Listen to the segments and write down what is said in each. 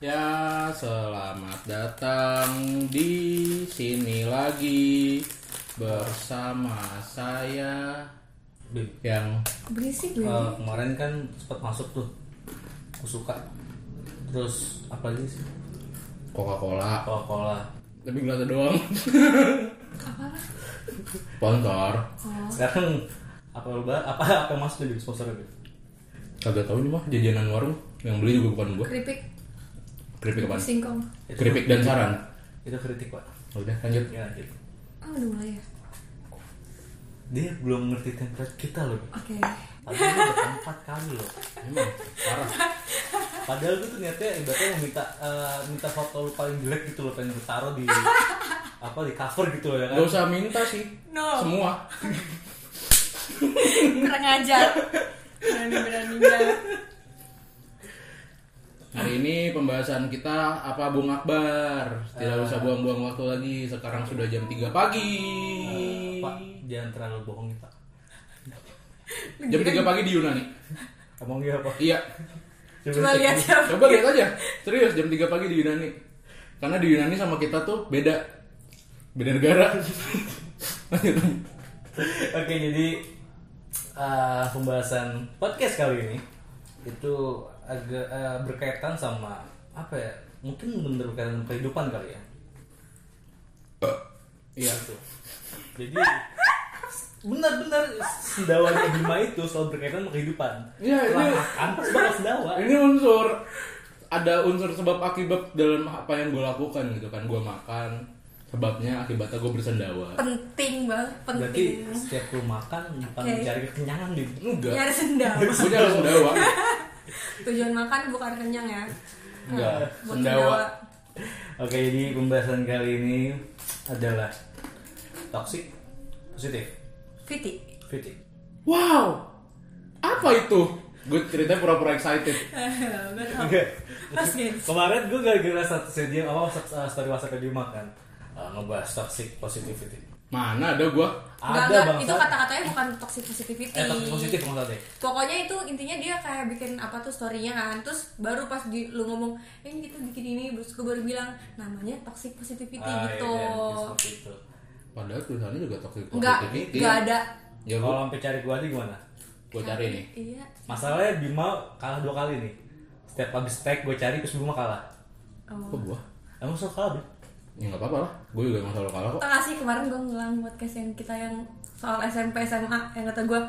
Ya, selamat datang di sini lagi bersama saya Bim, yang Berisik eh, lu. kemarin kan sempat masuk tuh aku suka terus apa lagi sih Coca-Cola, coca cola tapi gelas doang. Apa lah? Sponsor. Oh, sekarang apa lu bah- apa apa yang masuk jadi sponsornya Bim? Kagak tahu nih mah jajanan warung yang beli juga bukan gua. keripik Keripik apaan? singkong. Itu- Keripik dan saran. itu kritik pak Udah lanjut. ya lanjut Oh, udah mulai ya. dia belum ngerti template kita loh Oke. padahal dia udah empat kali loh Emang parah. padahal gue tuh niatnya ibaratnya mau minta eh, minta foto lu paling jelek gitu loh pengen gue taruh di apa di cover gitu loh ya kan Gak usah minta sih. No. Semua. Kurang ajar. Berani-beraninya. Hari ini pembahasan kita apa Bung Akbar. Tidak usah buang-buang waktu lagi. Sekarang sudah jam 3 pagi. Ah, pak jangan terlalu bohong ya pak Jam 3 pagi di Yunani. Emang iya pak Iya. Cuma lihat siapa. Coba lihat aja. Serius jam 3 pagi di Yunani. Karena di Yunani sama kita tuh beda. Beda negara. Lanjut. Oke jadi eh, pembahasan podcast kali ini itu agak eh, berkaitan sama apa ya? Mungkin bener berkaitan dengan kehidupan kali ya. Iya. Gitu. Jadi benar-benar sendawanya Bima itu selalu berkaitan sama kehidupan. Iya, iya. Setelah makan terus bakal sendawa. Ini unsur ada unsur sebab akibat dalam apa yang gue lakukan gitu kan. Gue makan sebabnya akibatnya gue bersendawa. Penting banget, Berarti penting. setiap lu makan bukan Iya, Oke. mencari kekenyangan gitu. Enggak. Nyari Iya, sendal. Gue jangan sendawa. Tujuan makan bukan kenyang ya. Nah, Enggak. Buat Sendawa. Oke jadi pembahasan kali ini adalah toxic positif Fiti. fitting. Wow. Apa itu? Gue ceritanya pura-pura excited. Betul. Mas guys. Kemarin gue gara-gara status dia awal uh, story WhatsApp dia makan uh, ngebahas toxic positivity. Mana ada gue? Enggak, enggak. Itu kata-katanya bukan toxic positivity. eh toxic positif maksudnya. Pokoknya itu intinya dia kayak bikin apa tuh story-nya kan Terus baru pas di, lu ngomong Eh kita bikin ini Terus gue baru bilang Namanya toxic positivity Ah, iya, gitu iya, iya, seperti itu. Padahal tulisannya juga toxic Enggak, positivity. enggak ada Ya Kalau gue sampai cari gue aja gimana? gue cari nih. Iya Masalahnya Bima kalah dua kali nih. Setiap abis tag gue cari terus Bima kalah. Kok Oh. gue? Emang suka kalah Bim? Ya nggak apa-apa lah. Gue juga emang selalu kalah kok. Tau gak sih kemarin gue ngulang podcast yang kita yang soal SMP SMA yang kata gue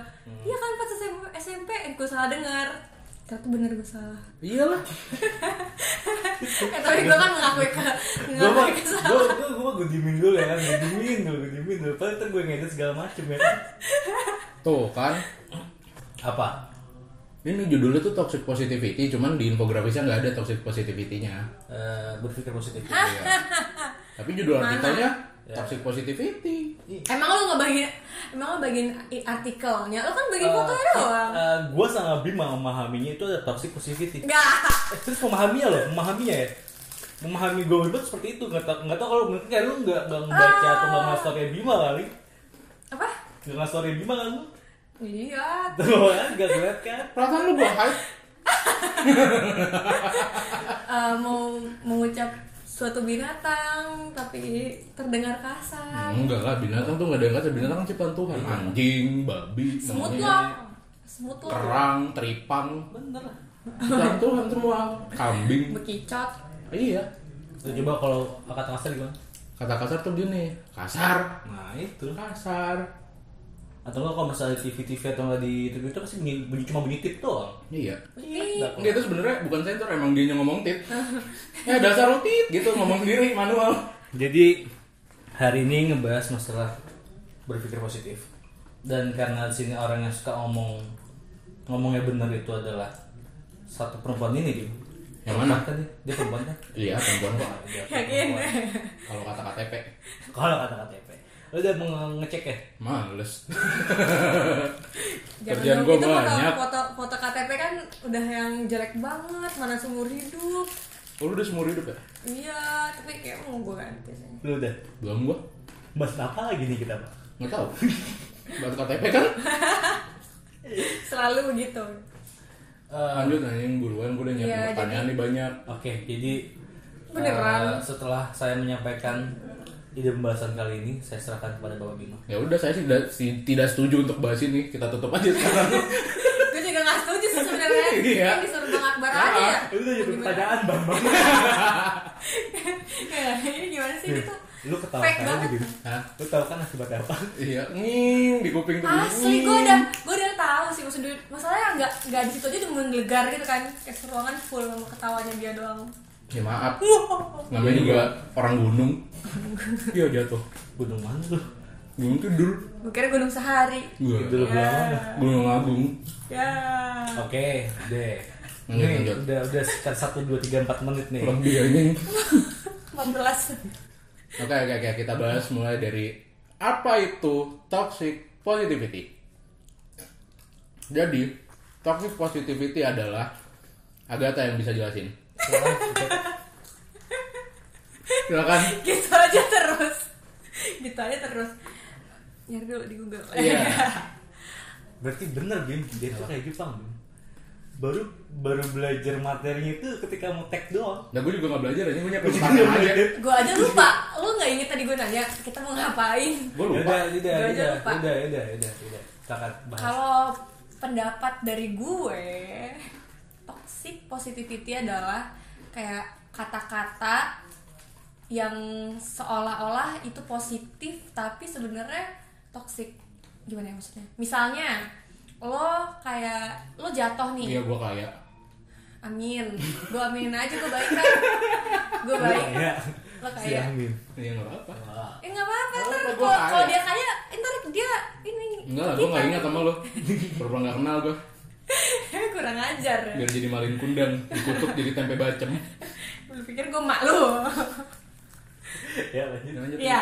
iya kan pas SMP SMP eh, gue salah dengar ternyata bener gue salah Iyalah. eh, tapi gue kan mengakui ke Gue mah mengakui kesalahan gue gue gue gue diemin dulu ya kan, gue diemin dulu, gue diemin dulu. Paling ntar gue ngedit segala macem ya. Tuh kan. Apa? Ini judulnya tuh toxic positivity, cuman di infografisnya nggak ada toxic positivity-nya. Eh, berpikir positif. Iya. Tapi judul artikelnya toxic positivity. emang lu ngebagiin emang lu bagiin i- artikelnya lu kan bagiin Oh. fotonya doang gue sama Bima memahaminya itu ada toxic positivity. enggak Eh, terus memahaminya loh memahaminya ya memahami gue itu seperti itu nggak tau nggak tau kalau mungkin kayak lu nggak nggak baca atau nggak ngasih story Bima kali apa nggak ngasih story Bima kan lu iya tuh kan nggak ngeliat kan Perasaan lu gue hype. eh, mau mengucap suatu binatang tapi terdengar kasar Enggak lah, binatang tuh nggak ada yang kata binatang kan ciptaan Tuhan. Anjing, babi, semut monyet, lo semut lo kerang, teripang, bener lah ciptaan Tuhan semua. Kambing. bekicot Iya. Tuh, coba kalau kata kasar gimana Kata kasar tuh gini, kasar, nah itu kasar. atau nggak kalau misalnya TV TV atau nggak di TV itu pasti bunyi, bunyi cuma bunyi tip doang Iya. Ih, Nggak- Enggak itu sebenarnya bukan sensor, emang dia yang ngomong tit. ya dasar lu tit gitu ngomong sendiri manual. Jadi hari ini ngebahas masalah berpikir positif. Dan karena di sini orang yang suka ngomong ngomongnya benar itu adalah satu perempuan ini gitu. Yang mana? Tadi dia perempuan kan? Iya, perempuan kok. Dia Yakin? perempuan. Kalau kata KTP, Kalau kata KTP. Lo udah menge- ngecek ya? males. Jangan Kerjaan dong, gua itu foto- banyak. Foto, foto KTP kan udah yang jelek banget, mana seumur hidup. Oh, lu udah seumur hidup ya? Iya, tapi kayak mau gue ganti sih. Lo udah. Belum gua. Bahas apa lagi nih kita, Pak? Nggak tahu. Baru KTP kan? Selalu begitu. eh, lanjut nanyain buruan gue udah nyiapin Iya, pertanyaan nih banyak Oke, jadi eh, Beneran. setelah saya menyampaikan ide pembahasan kali ini, saya serahkan kepada Bapak Bima. ya udah saya sih tidak, sih tidak setuju untuk bahas ini kita tutup aja sekarang gue juga gak setuju sih sebenarnya Iya. yang disuruh bang akbar aja ya Itu jadi pertanyaan, Bang. Ya, ini gimana sih gitu Lu ketawa kan Fake banget. gitu. Hah? Lu tahu kan akibat apa? iya nging di kuping tuh asli gue udah gue udah tahu sih maksud duit masalahnya nggak nggak di situ aja udah menggelegar gitu kan kayak ruangan full sama ketawanya dia doang ya maaf namanya juga orang gunung iya jatuh Gunung mana lu? gunung kidul gue kira gunung sehari Gua- Dulu Ya. belakang dah. gunung agung ya Oke, deh. Lanjut, Nih, lanjut. udah udah sekitar 1 2 3 4 menit nih. lebih anjing 14 Oke oke oke kita bahas mulai dari apa itu toxic positivity. Jadi toxic positivity adalah Agatha yang bisa jelasin. Soalnya Silakan. gitu aja terus gitu aja terus nyari dulu di Google Iya. Berarti bener Bim, dia tuh kayak Jepang Bim. Baru baru belajar materinya itu ketika mau tag doang. Nah gue juga gak belajar aja, gue nyiapin Gua juga pertanyaan nggak aja. belajar. gue aja lupa lu nggak inget tadi gue nanya kita mau ngapain Gue Ya lupa. udah, udah, Gua aja udah, lupa. udah, udah, udah, udah. Kita akan bahas. kalau pendapat dari gue toxic positivity adalah kayak kata-kata yang seolah-olah itu positif tapi sebenarnya toxic gimana ya maksudnya misalnya lo kayak lo jatuh nih Iya gue kayak. Amin. Gue aminin aja gue baik kan. Gue baik. Kayak Lo si kayak. Amin. Iya gak apa-apa. Wah. Eh nggak apa-apa Nggak ntar apa-apa, gua kalau kalau kaya. dia kaya, eh, ntar dia ini. Enggak lah, gue gak ingat sama lo. Pernah gak kenal gue. Kurang ajar. Ya. Biar jadi malin kundang, dikutuk jadi tempe bacem. Lu pikir gue mak lu? Ya lanjut. Lanjut. Iya.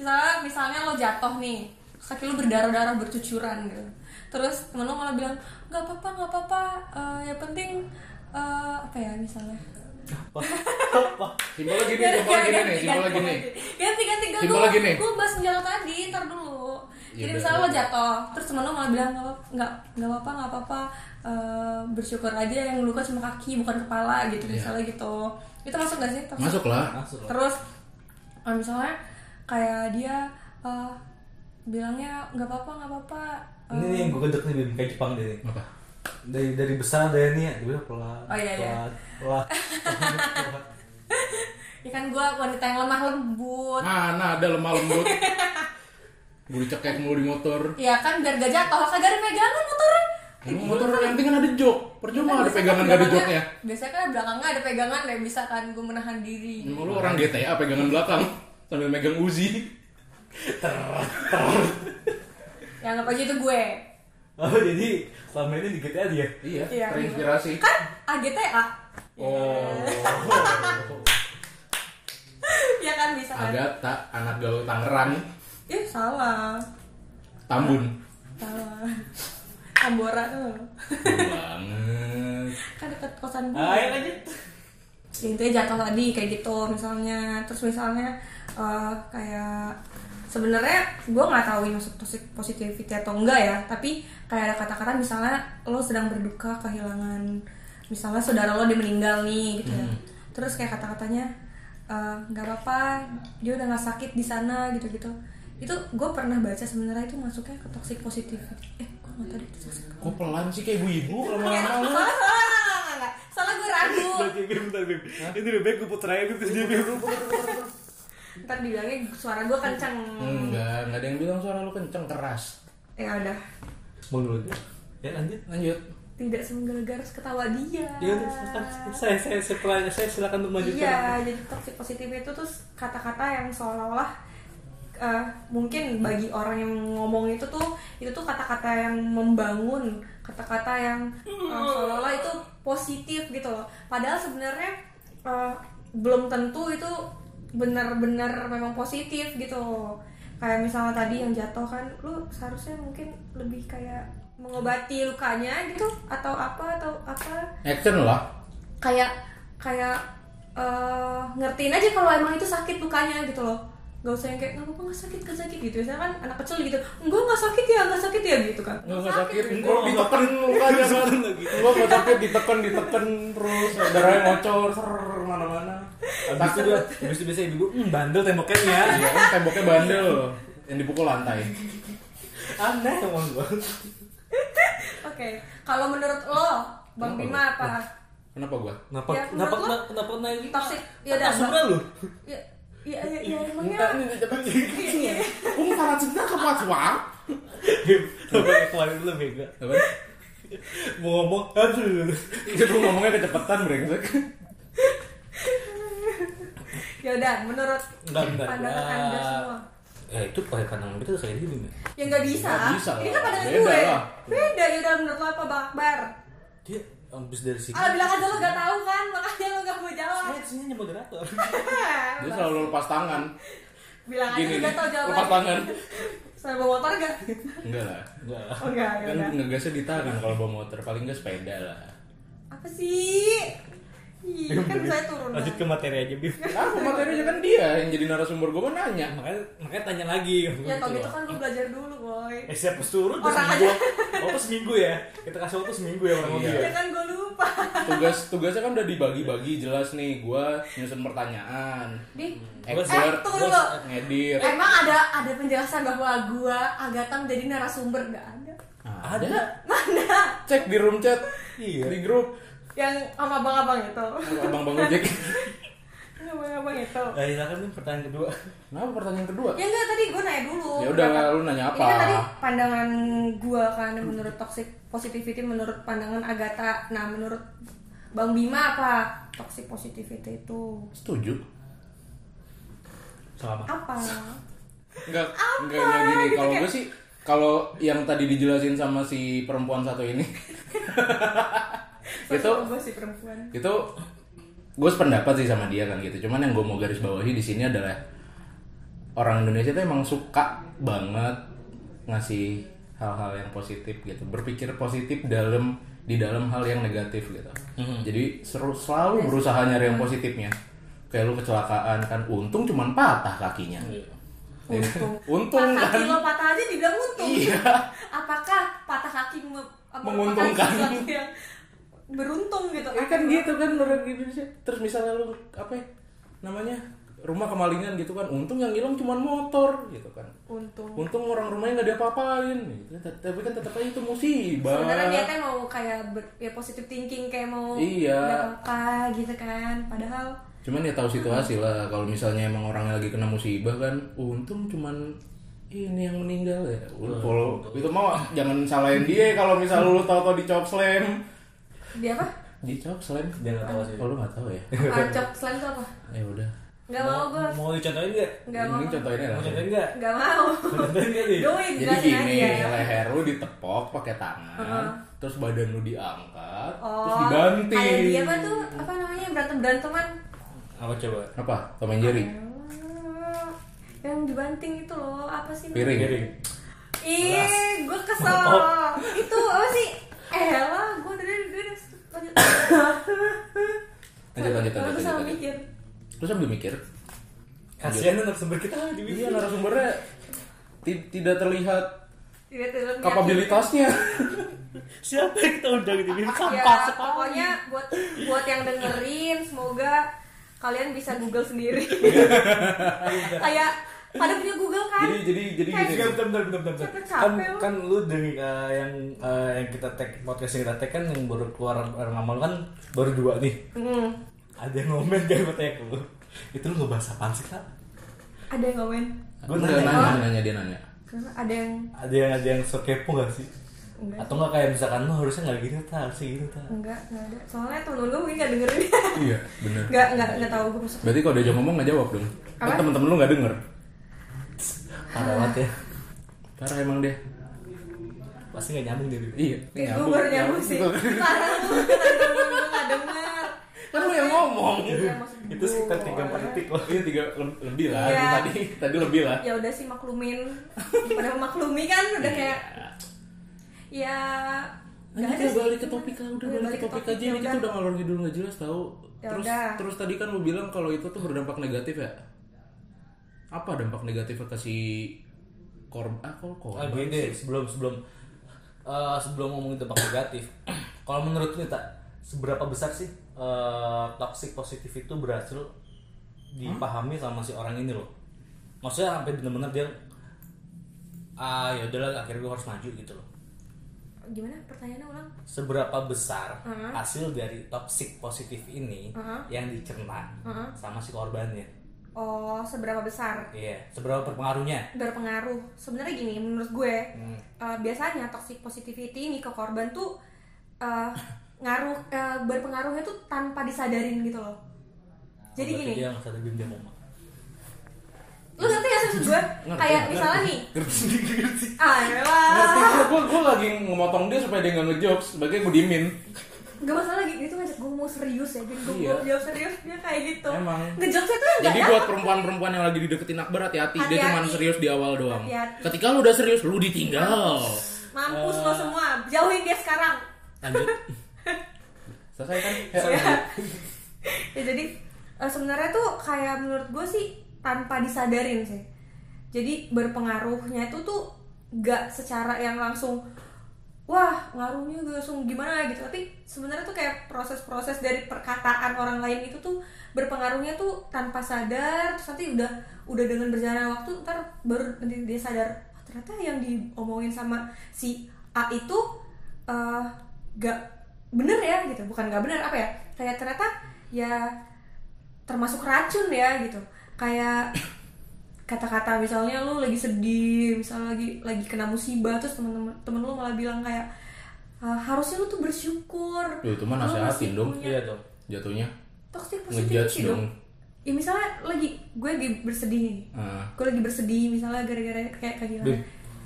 Misalnya misalnya lo jatuh nih, terus kaki lo berdarah-darah bercucuran gitu. Terus temen lo malah bilang nggak apa-apa nggak apa-apa. Eh, yang penting eh, apa ya misalnya? Apa? Simpelnya gini, simpelnya gini nih, simpelnya gini. Ganti ganti ganti. Simpelnya gini. Gue bahas menjelang tadi, ntar dulu. Iya, Jadi udah, misalnya lo udah. jatuh, terus temen lo malah bilang nggak apa- nggak nggak apa-apa nggak apa-apa. Eh, bersyukur aja yang luka cuma kaki bukan kepala gitu Iya. misalnya gitu. Itu masuk gak sih? Toxic? Masuk lah. Masuk. Terus eh, misalnya kayak dia eh, bilangnya nggak apa-apa nggak apa-apa. eh, Ini nih yang gue gedek nih Bim, kayak Jepang deh. Apa? Dari dari besar dari ini ya, dia bilang pelan. Oh, iya, iya. pelan, pelan, pelan. Ya kan gue wanita yang lemah lembut. Mana ada lemah lembut. Gue dicekek mulu di motor. Ya kan biar gak jatuh, kagak ada pegangan motornya. Emang motor yang penting kan ada jok. Percuma ada Biasanya pegangan gak ada kan belakangnya- joknya. Biasanya kan belakangnya ada pegangan ya bisa kan gue menahan diri. Emang lu orang GTA pegangan belakang sambil megang Uzi. Yang apa Ya, aja itu gue. Oh jadi selama ini di GTA dia. Iya, Iya. terinspirasi. Kan AGTA. Oh, ya kan bisa kan. Agatha anak gaul Tangerang, Ih, salah. Tambun. Salah. Tambora tuh. Bener banget. Kan deket kosan gue. Ayo lanjut. Ya, intinya jatuh tadi kayak gitu misalnya terus misalnya eh, kayak sebenarnya gue nggak tahu ini maksud posi- positivity atau enggak ya tapi kayak ada kata-kata misalnya lo sedang berduka kehilangan misalnya saudara lo dia meninggal nih gitu ya terus kayak kata-katanya eh, nggak apa-apa dia udah nggak sakit di sana gitu-gitu itu gue pernah baca sebenarnya itu masuknya ke toxic positivity eh gue nggak tahu deh itu toxic Kok pelan sih kayak Iya. ibu-ibu lama-lama salah lu? salah salah salah, salah salah gue ragu Oke Bim, bentar Bim. Ini lebih baik gue puter aja Bim, terus dia Bim. ntar dibilangnya suara gue kenceng Enggak, enggak ada yang bilang suara lu kenceng keras. ya udah Menurut dia. Ya lanjut. Lanjut. tidak semenggegar ketawa dia Ya udah silakan. Saya saya saya pelan- saya silakan untuk melanjutkan. iya jadi toxic positif itu tuh kata-kata yang seolah-olah eh, mungkin bagi orang yang ngomong itu tuh itu tuh kata-kata yang membangun kata-kata yang eh, seolah-olah itu positif gitu loh padahal sebenarnya eh, belum tentu itu benar-benar memang positif gitu kayak misalnya tadi yang jatuh kan lu seharusnya mungkin lebih kayak mengobati lukanya gitu atau apa atau apa Action lah. kayak kayak eh, ngertiin aja kalau emang itu sakit lukanya gitu loh nggak usah yang kayak nggak apa-apa nggak sakit nggak sakit gitu biasanya kan anak kecil gitu enggak nggak sakit ya nggak sakit ya gitu kan Enggak enggak sakit, gitu. enggak ditekan lukanya kan. Enggak enggak sakit ditekan ditekan terus darahnya ngocor ser mana-mana. Iya. Habis itu dia, habis itu biasanya ibu gue, hmm, bandel temboknya nih ya. Iya, kan temboknya bandel loh, yang dipukul lantai. Aneh emang gue. oke kalau menurut lo bang Kenapa Bima lo? apa Kenapa gua? Kenapa, Ya, kenapa, menurut kenapa, kenapa naik? Toxic. Ya Ya udah, udah. Sumber lu. ya ya ya, Iya, ya Enggak emangnya Iya, ini cepat. Kamu parah cinta kamu cuang. Coba keluarin lu bego. Apa? Mau ngomong, aduh. Itu tuh ngomongnya kecepatan brengsek. ya udah menurut Enggak, enggak. pandangan ya. anda semua Ya itu pakai pandangan kita udah sakit hidung ya. ya nggak bisa Nggak bisa ini lah. kan pandangan Beda gue lah. beda ya udah menurut lo apa bang Akbar Dia habis dari sini. ah bilang aja lo gak tahu kan makanya lo gak mau jawab Saya sini hanya moderator. Dia selalu lepas tangan. bilang aja Gini lo nih, gak tahu lepas jawabannya tangan. saya bawa motor gak Enggak lah. Enggak lah. oh enggak enggak, Kan enggak ngegasnya di tangan kalau bawa motor, paling enggak sepeda lah. apa sih Ih, kan saya turun Lanjut ke dong. materi aja, Bim. Nah, materinya kan dia yang jadi narasumber gua mah nanya. Makanya makanya tanya lagi. ya kalau gitu kan gue belajar dulu boy Eh siapa turun udah Orang seminggu. Waktu seminggu ya. Kita kasih waktu seminggu ya orang Iya. mobil. ya kan gue lupa tugas tugasnya kan udah dibagi-bagi jelas nih gua nyusun pertanyaan di Expert, eh tunggu dulu ngedit emang ada ada penjelasan bahwa gue Agatha menjadi narasumber nggak ada Nah, ada mana cek di room chat Iya. di grup yang sama abang-abang itu abang bang ojek Yang abang-abang itu Nah, silakan Bim pertanyaan kedua. kenapa pertanyaan kedua Ya enggak tadi gue nanya dulu. Ya udah, Pendapat- lu nanya apa? Ini kan tadi pandangan gue kan yang menurut toxic positivity menurut pandangan Agatha. Nah, menurut Bang Bima apa toxic positivity itu? setuju Sama. Apa? enggak enggak enggak gini kalau gua sih kalau yang tadi dijelasin sama si perempuan satu ini itu gue sih perempuan. itu gue sependapat sih sama dia kan gitu cuman yang gue mau garis bawahi di sini adalah orang Indonesia tuh emang suka banget ngasih hal-hal yang positif gitu berpikir positif dalam di dalam hal yang negatif gitu jadi seru selalu berusaha nyari yang positifnya kayak lu kecelakaan kan untung cuman patah kakinya Iya. Untung. Untung patah kan? kaki lo patah aja dibilang untung. Iya. Apakah patah kaki me- apa- Menguntungkan. patah kaki sesuatu yang beruntung gitu? ya kan gitu kan orang Indonesia terus misalnya lu apa ya, namanya rumah kemalingan gitu kan untung yang hilang cuman motor gitu kan Untung. Untung orang rumahnya nggak diapa-apain, gitu. Tet- tapi kan tetap aja itu musibah. sebenarnya dia kan- teh mau kayak ber, ya positive thinking kayak mau Iya. nggak apa gitu kan padahal Cuman ya tahu situasi lah. Kalau misalnya emang orangnya lagi kena musibah kan, untung cuman ini yang meninggal ya. Udah, Kalau itu mau jangan salahin dia kalau misalnya lu tahu-tahu dicop slam, dia apa dicop slam. Dia enggak tahu sih. Oh lu nggak tahu ya? acok selain itu apa Ya udah. nggak mau gue Mau dicontohin enggak? nggak mau Ini contohnya Mau lah. dicontohin enggak? nggak mau Contohin enggak nih? doin Jadi jelasin gini, aja. leher lu ditepok pakai tangan, Uh-huh. terus badan lu diangkat, terus oh dibanting. kayak dia apa tuh apa namanya berantem beranteman Apa coba? Apa? Tom and Jerry? yang dibanting itu loh apa sih Piring. Piring. Ih, gue kesel. Oh. Itu apa sih? Elah, gue udah dari dari lanjut. Lanjut, lanjut, lanjut, Gue lanjut, sama lanjut. mikir. Terus sambil mikir, Kasihan anak sumber kita di Iya narasumbernya ti- tidak terlihat Tidak tidak kapabilitasnya. Siapa yang kita undang di Bim? Sampah Ya, sekali. pokoknya buat buat yang dengerin, semoga kalian bisa Google sendiri. Iya. Kayak pada punya Google kan? jadi jadi jadi Kayak gini. Enggak, Iya, bentar, bentar, bentar, bentar. Capek-capek Kan, lu. kan lu dari eh, yang eh, yang kita tag podcast yang kita tag kan yang baru keluar bareng sama lu kan baru dua nih. Hmm. Ada yang ngomen dari pertanyaan lu. Itu lu ngebahas apaan sih kak? Ada yang komen? Gue Gua nanya, nanya. kan? nanya, nanya dia nanya. Kenapa? Ada yang Ada yang ada yang so kepo gak sih? enggak? Atau nggak kayak misalkan lu harusnya nggak gini tak harusnya gitu, gini tak? Enggak, enggak ada. Soalnya temen-temen gue mungkin gak dengerin. Iya, bener. Enggak, enggak, enggak tahu gue maksud. Berarti kalau dia ngomong nggak jawab dong. Apa? Kan temen-temen lu nggak denger. Parah banget ya. Parah emang dia. Pasti nggak nyambung dia. Bim. Iya. Ya, gue baru nyambung sih. Parah lu, temen-temen gue gak denger. Kan lu yang ngomong. Iya, maksud Itu sekitar gue. tiga empat detik loh. Iya tiga le- lebih lah. Iya. Tadi tadi lebih lah. ya udah sih maklumin pada maklumi kan udah Iya. kayak ya Udah nggak ada sih. gitu kan. balik ke topik lah, udah Udah balik ke topik aja ini ya kita udah. udah ngalor ngidul nggak jelas tahu. Ya Terus udah. terus tadi kan lu bilang kalau itu tuh berdampak negatif ya. apa dampak negatifnya ke si korban ah, kok Oh, korban gini deh, sebelum sebelum eh, sebelum ngomongin tentang negatif, kalau menurut lu tak seberapa besar sih eh, toxic positif itu berhasil dipahami sama si orang ini loh? Maksudnya sampai benar-benar dia ah ya udahlah akhirnya gue harus maju gitu loh. Gimana pertanyaannya ulang? Seberapa besar Hmm. hasil dari toxic positif ini Hmm. yang dicerna Hmm. sama si korbannya? Oh, seberapa besar? Iya, seberapa berpengaruhnya? berpengaruh. Sebenarnya gini, menurut gue Hmm. eh, biasanya toxic positivity ini ke korban tuh eh, ngaruh eh, berpengaruhnya tuh tanpa disadarin gitu loh. Jadi Oh, Berarti gini, dia nggak sadar diri dia ngomong. lu ngerti gak sih maksud gue? Ngerti, Kayak ngerti. misalnya nih, Ngerti, ngerti. ah elah. gue gue lagi ngomotong dia supaya dia nggak ngejokes sebagai gue diemin Gak masalah gitu, dia tuh ngajak gue mau serius ya Jadi gue Iya. mau jawab serius, dia kayak gitu Emang. Ngejokesnya tuh enggak jadi ya? buat perempuan-perempuan yang lagi dideketin akbar hati-hati dia Hati-hati. cuma serius di awal doang Hati-hati. ketika lu udah serius lu ditinggal Mampus Eh. lo semua, jauhin dia sekarang lanjut selesai kan ya, Ya, jadi eh, sebenarnya tuh kayak menurut gue sih tanpa disadarin sih jadi berpengaruhnya itu tuh gak secara yang langsung wah ngaruhnya gue langsung gimana gitu tapi sebenarnya tuh kayak proses-proses dari perkataan orang lain itu tuh berpengaruhnya tuh tanpa sadar terus nanti udah udah dengan berjalannya waktu ntar baru nanti dia sadar wah ternyata yang diomongin sama si A itu eh, gak bener ya gitu bukan gak bener apa ya kayak ternyata ya termasuk racun ya gitu kayak kata-kata misalnya lu lagi sedih misalnya lagi lagi kena musibah terus temen-temen temen lu malah bilang kayak "Ah, harusnya lu tuh bersyukur Duh, Ya, itu mah Lu nasehatin masih dong. punya Iya dong. jatuhnya toxic Ngejudge positivity dong. dong ya misalnya lagi gue lagi bersedih nih Ah. gue lagi bersedih misalnya gara-gara kayak Bim, kehilangan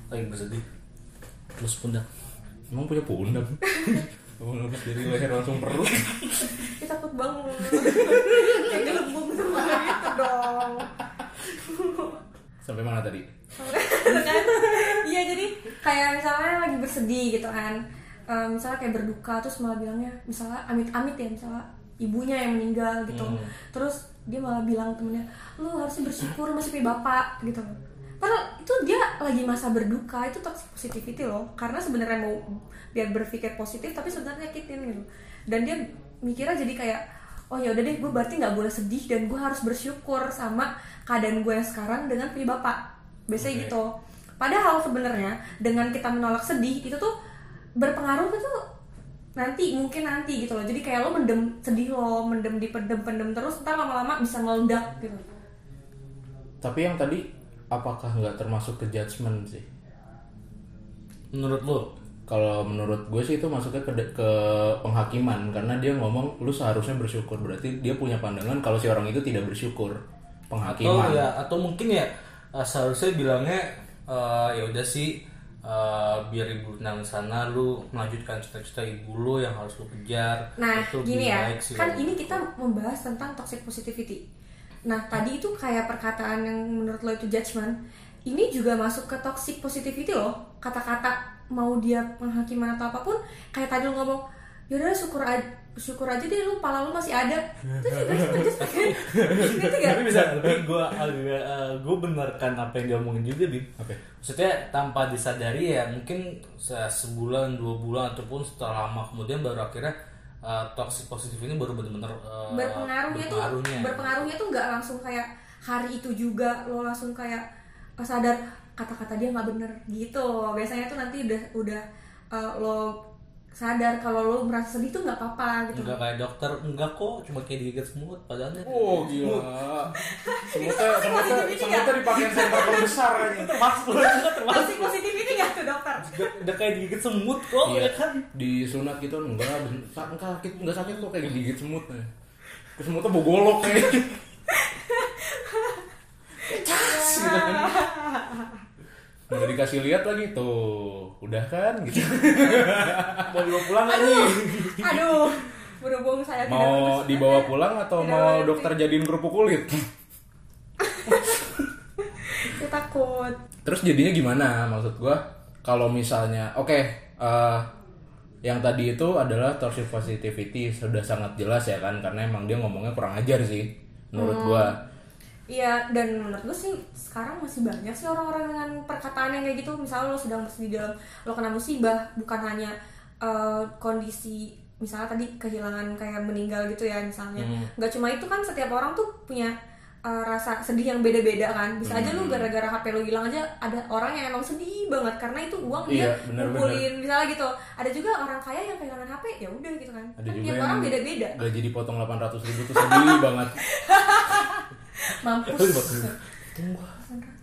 lagi bersedih. Terus pundak. emang punya pundak Emang lepas dari leher langsung perut ya takut bangun kayak gelembung semua gitu dong sampai mana tadi kan iya jadi kayak misalnya lagi bersedih gitu kan Eh, misalnya kayak berduka terus malah bilangnya misalnya amit-amit ya misalnya ibunya yang meninggal gitu terus dia malah bilang temennya lu harusnya bersyukur masih punya bapak gitu padahal itu dia lagi masa berduka itu toxic positivity loh karena sebenarnya mau biar berpikir positif tapi sebenarnya nyakitin gitu dan dia mikirnya jadi kayak oh ya udah deh gue berarti nggak boleh sedih dan gue harus bersyukur sama keadaan gue yang sekarang dengan punya bapak biasanya Oke. gitu padahal sebenarnya dengan kita menolak sedih itu tuh berpengaruh tuh tuh nanti mungkin nanti gitu loh jadi kayak lo mendem sedih lo mendem dipendem pendem terus ntar lama-lama bisa meledak gitu tapi yang tadi apakah nggak termasuk ke judgement sih Menurut lo? kalau menurut gue sih itu masuknya ke, ke penghakiman karena dia ngomong lu seharusnya bersyukur berarti dia punya pandangan kalau si orang itu tidak bersyukur Atau Oh, penghakiman iya. ya, atau mungkin ya eh, seharusnya bilangnya eh, ya udah sih eh, biar ibu tenang di sana lu melanjutkan cita-cita ibu lu yang harus lu kejar. Nah, Itu lebih gini ya, baik sih, kan Om. ini kita membahas tentang toxic positivity. Nah, tadi itu kayak perkataan yang menurut lo itu judgment, ini juga masuk ke toxic positivity loh. Kata-kata mau dia penghakiman atau apapun, kayak tadi lo ngomong, yaudah syukur aja, syukur aja deh lu pala lu masih ada. Itu juga judgment kan? Ngerti gak? tapi bisa tapi gue agak gue benerkan apa yang diomongin juga bim Apa? maksudnya tanpa disadari ya mungkin se- sebulan dua bulan ataupun setelah lama kemudian baru akhirnya eh, toxic positif ini baru benar-benar eh, berpengaruhnya tuh berpengaruhnya. berpengaruhnya tuh nggak langsung kayak hari itu juga lo langsung kayak sadar kata-kata dia nggak bener gitu biasanya tuh nanti udah udah uh, lo sadar kalau lo merasa sedih tuh nggak apa-apa gitu Enggak kayak dokter, enggak kok, cuma kayak digigit semut padahalnya. Oh gila. Semutnya Itu masih semutnya positivity semutnya dipakai center terbesar ini. Termasuk lu juga termasuk. masih positif ini nggak tuh dokter Udah- Udah kayak digigit semut kok, Iya ya kan? Di sunat gitu enggak bentar enggak sakit enggak sakit kok kayak digigit semut. ya. Ke semutnya bogolok kayak. gitu. Cas, gitu kan. Nggak dikasih lihat lagi tuh, udah kan gitu. Mau dibawa pulang nggak nih? aduh berhubung saya tidak Mau lulus, dibawa saya- pulang atau tidak mau lulus. dokter jadiin kerupuk kulit? saya takut Terus jadinya gimana maksud gua? Kalau misalnya, oke, eh, yang tadi itu adalah toxic Hmm. positivity sudah sangat jelas ya kan, karena emang dia ngomongnya kurang ajar sih, menurut gua. Iya dan menurut gue sih sekarang masih banyak sih orang-orang dengan perkataan yang kayak gitu misalnya lo sedang di dalam lo kena musibah bukan hanya eh, kondisi misalnya tadi kehilangan kayak meninggal gitu ya misalnya Hmm. nggak cuma itu kan setiap orang tuh punya eh, rasa sedih yang beda-beda kan bisa aja Hmm. lu gara-gara HP lo hilang aja ada orang yang emang sedih banget karena itu uang Iya, dia bener-bener. ngumpulin misalnya gitu ada juga orang kaya yang kehilangan HP ya udah gitu kan Ada Kan juga tiap yang orang beda-beda gaji dipotong 800 ribu tuh sedih banget. mampus Itu buat gue.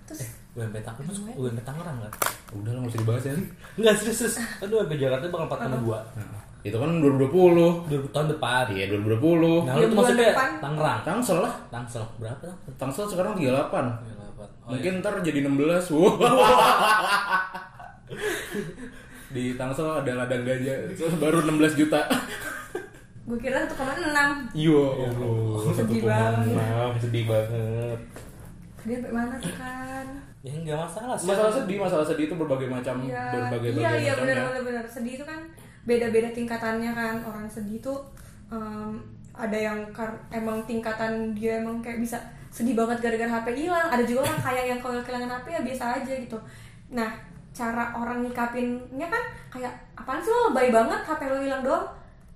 terus UMP Iya. Tangerang, masuk UMP Tangerang nggak? Udah lah nggak usah dibahas ya. Nggak serius, serius. Aduh, UMP Jakarta bakal 4,2 Nah, itu kan 2020. 2000 tahun depan. Iya 2020. Nah, lu Iya, tuh bulan maksudnya depan. Tangerang. Tangsel lah. Tangsel berapa Tangsel? Tangsel sekarang 38. Oh, iya. Mungkin ntar jadi 16. Wow. Di Tangsel ada ladang ganja Terus baru 16 juta. gue kira satu koma enam Yo, Ya Allah, Sedih 1,6 sedih banget. dia sampai mana sih kan Ya nggak masalah sih. Masalah sedih, masalah sedih itu berbagai macam, iya Kan berbagai iya macam ya. iya benar benar benar sedih itu kan beda beda tingkatannya kan orang sedih itu em, ada yang kar- emang tingkatan dia emang kayak bisa sedih banget gara-gara HP hilang ada juga orang kaya yang kalau kehilangan HP ya biasa aja gitu nah cara orang nyikapinnya kan kayak apaan sih lo lebay banget HP lo hilang doang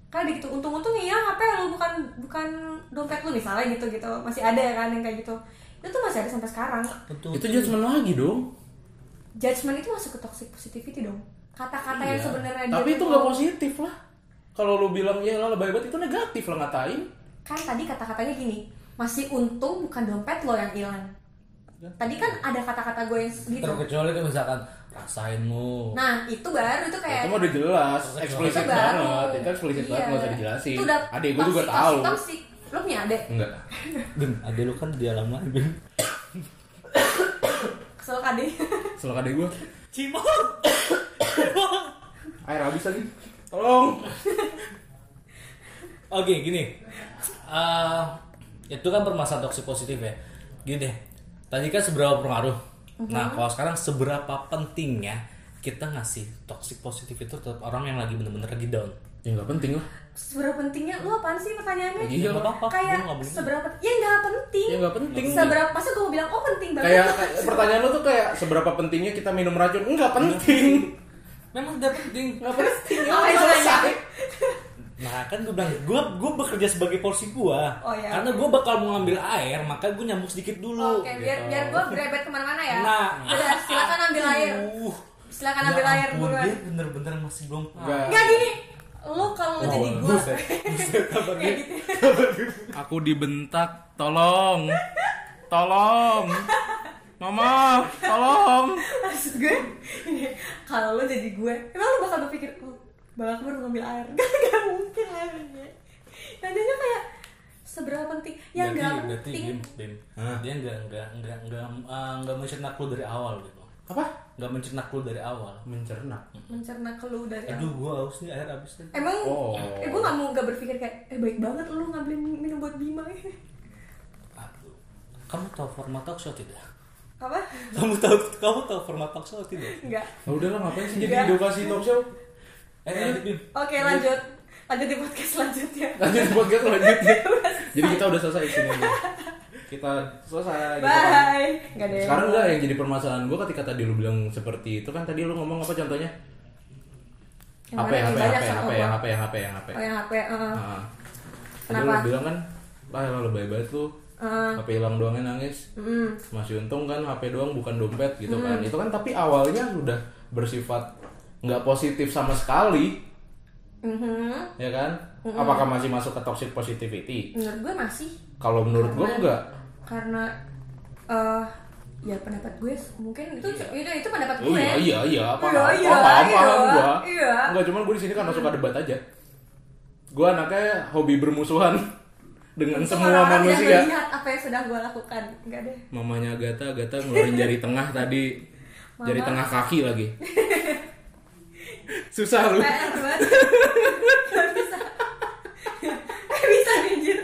kan ada gitu untung-untung iya HP lo bukan bukan dompet lo misalnya gitu gitu masih ada ya kan yang kayak gitu itu tuh masih ada sampai sekarang Betul. Itu judgement lagi dong. judgement itu masuk ke toxic positivity dong kata-kata yang Iya. sebenarnya Tapi dia itu tuh- nggak positif lah. Kalau lu bilang ya lah lebay banget itu negatif lah ngatain. kan tadi kata-katanya gini masih untung bukan dompet lo yang hilang Ya. tadi kan ada kata-kata gue yang gitu Terkecuali kan misalkan rasain lu. nah itu baru itu Ya, Itu kayak mah udah jelas, eksplisit baru. banget. Itu eksplisit banget nggak usah Iya. dijelasin. Itu udah Adek gue juga toxic, tahu. toxic, toxic. lo punya adek Enggak. Bim, adek lu kan di alaman, Bim. kesel kan adek Selak adek gue. Cimol. Air habis lagi. Tolong. Oke, gini. Eh, itu kan permasalahan toxic positif ya. Gini deh. Tadi kan seberapa pengaruh. Mhm. Nah, kalau sekarang seberapa pentingnya kita ngasih toxic positif itu terhadap orang yang lagi bener-bener lagi down. Ya nggak penting lah. seberapa pentingnya lo apaan sih pertanyaannya Iya, nggak apa-apa. kayak Gua nggak boleh. seberapa ya nggak penting Ya nggak penting. seberapa masa gue bilang oh penting banget Kayak kayak pertanyaan lu tuh kayak seberapa pentingnya kita minum racun? Enggak penting. Memang tidak penting. Enggak penting. Apa yang Ya, selesai. Nah kan gue bilang gue gue bekerja sebagai porsi gue. Oh, iya. Karena gue bakal mau ngambil air, maka gue nyambung sedikit dulu. oke biar biar gue berebet kemana-mana ya Nah, Udah, silakan ambil air Uh, silakan ambil air buruan Dia bener-bener masih belum. Enggak. Enggak gini, lu kalau Wow, jadi gua buset. Buset, sabar, Bim. Aku dibentak. Tolong. Tolong. Mama, tolong. maksud gue, ini, kalau lu jadi gue, emang lu bakal berpikir, oh, bang Akbar ngambil air, gak, gak mungkin airnya. Nadanya kayak seberapa penting, ya berarti, nggak berarti penting. Bim, Bim. Dia nggak nggak nggak nggak eh, nggak mencerna lu dari awal gitu. Apa? Nggak mencerna lu dari awal. Mencerna. Mencerna keluh dari Aduh, gue haus nih air habis nih. Emang, Oh. eh, gue gak mau gak berpikir kayak, eh baik banget lu ngambilin minum buat Bima. Aduh. Kamu tahu format talk show tidak? Apa? Kamu tahu kamu tahu format talk show tidak? Enggak. Nah, udah lah ngapain sih jadi Enggak. edukasi talk show? Eh, lanjut, Bim. Oke lanjut, lanjut di podcast selanjutnya. Lanjut podcast lanjutnya. Jadi kita udah selesai sini. Kita selesai. gitu kan. Bye. Gak deh. Sekarang enggak yang jadi permasalahan gue ketika tadi lu bilang seperti itu kan tadi lu ngomong apa contohnya? ya, Yang HP, banyak- HP, banyak HP, sama HP, gua. HP, HP, HP. Oh yang HP, eh. Nah, Tadi Kenapa? lu bilang kan, lah lo lebay banget lu. Eh, HP hilang doangnya nangis. mm. Masih untung kan HP doang bukan dompet gitu kan. Itu kan tapi awalnya udah bersifat nggak positif sama sekali, Mhm. ya kan? Apakah masih masuk ke toxic positivity? Menurut gue masih Kalau menurut gue enggak. karena eh ya pendapat gue mungkin itu itu itu pendapat ya. Oh gue. iya iya iya apa Iya, apa iya, paham iya, paham gua. iya. Enggak cuman gua di sini karena suka debat aja. Gua anaknya hobi bermusuhan dengan Untuk semua orang-orang yang manusia. melihat apa yang sedang gue lakukan, enggak deh. Mamanya Agatha, Agatha ngeluarin jari tengah tadi. Jari tengah kaki lagi. Susah lu. PR banget. Gak bisa. Eh, bisa nih, anjir.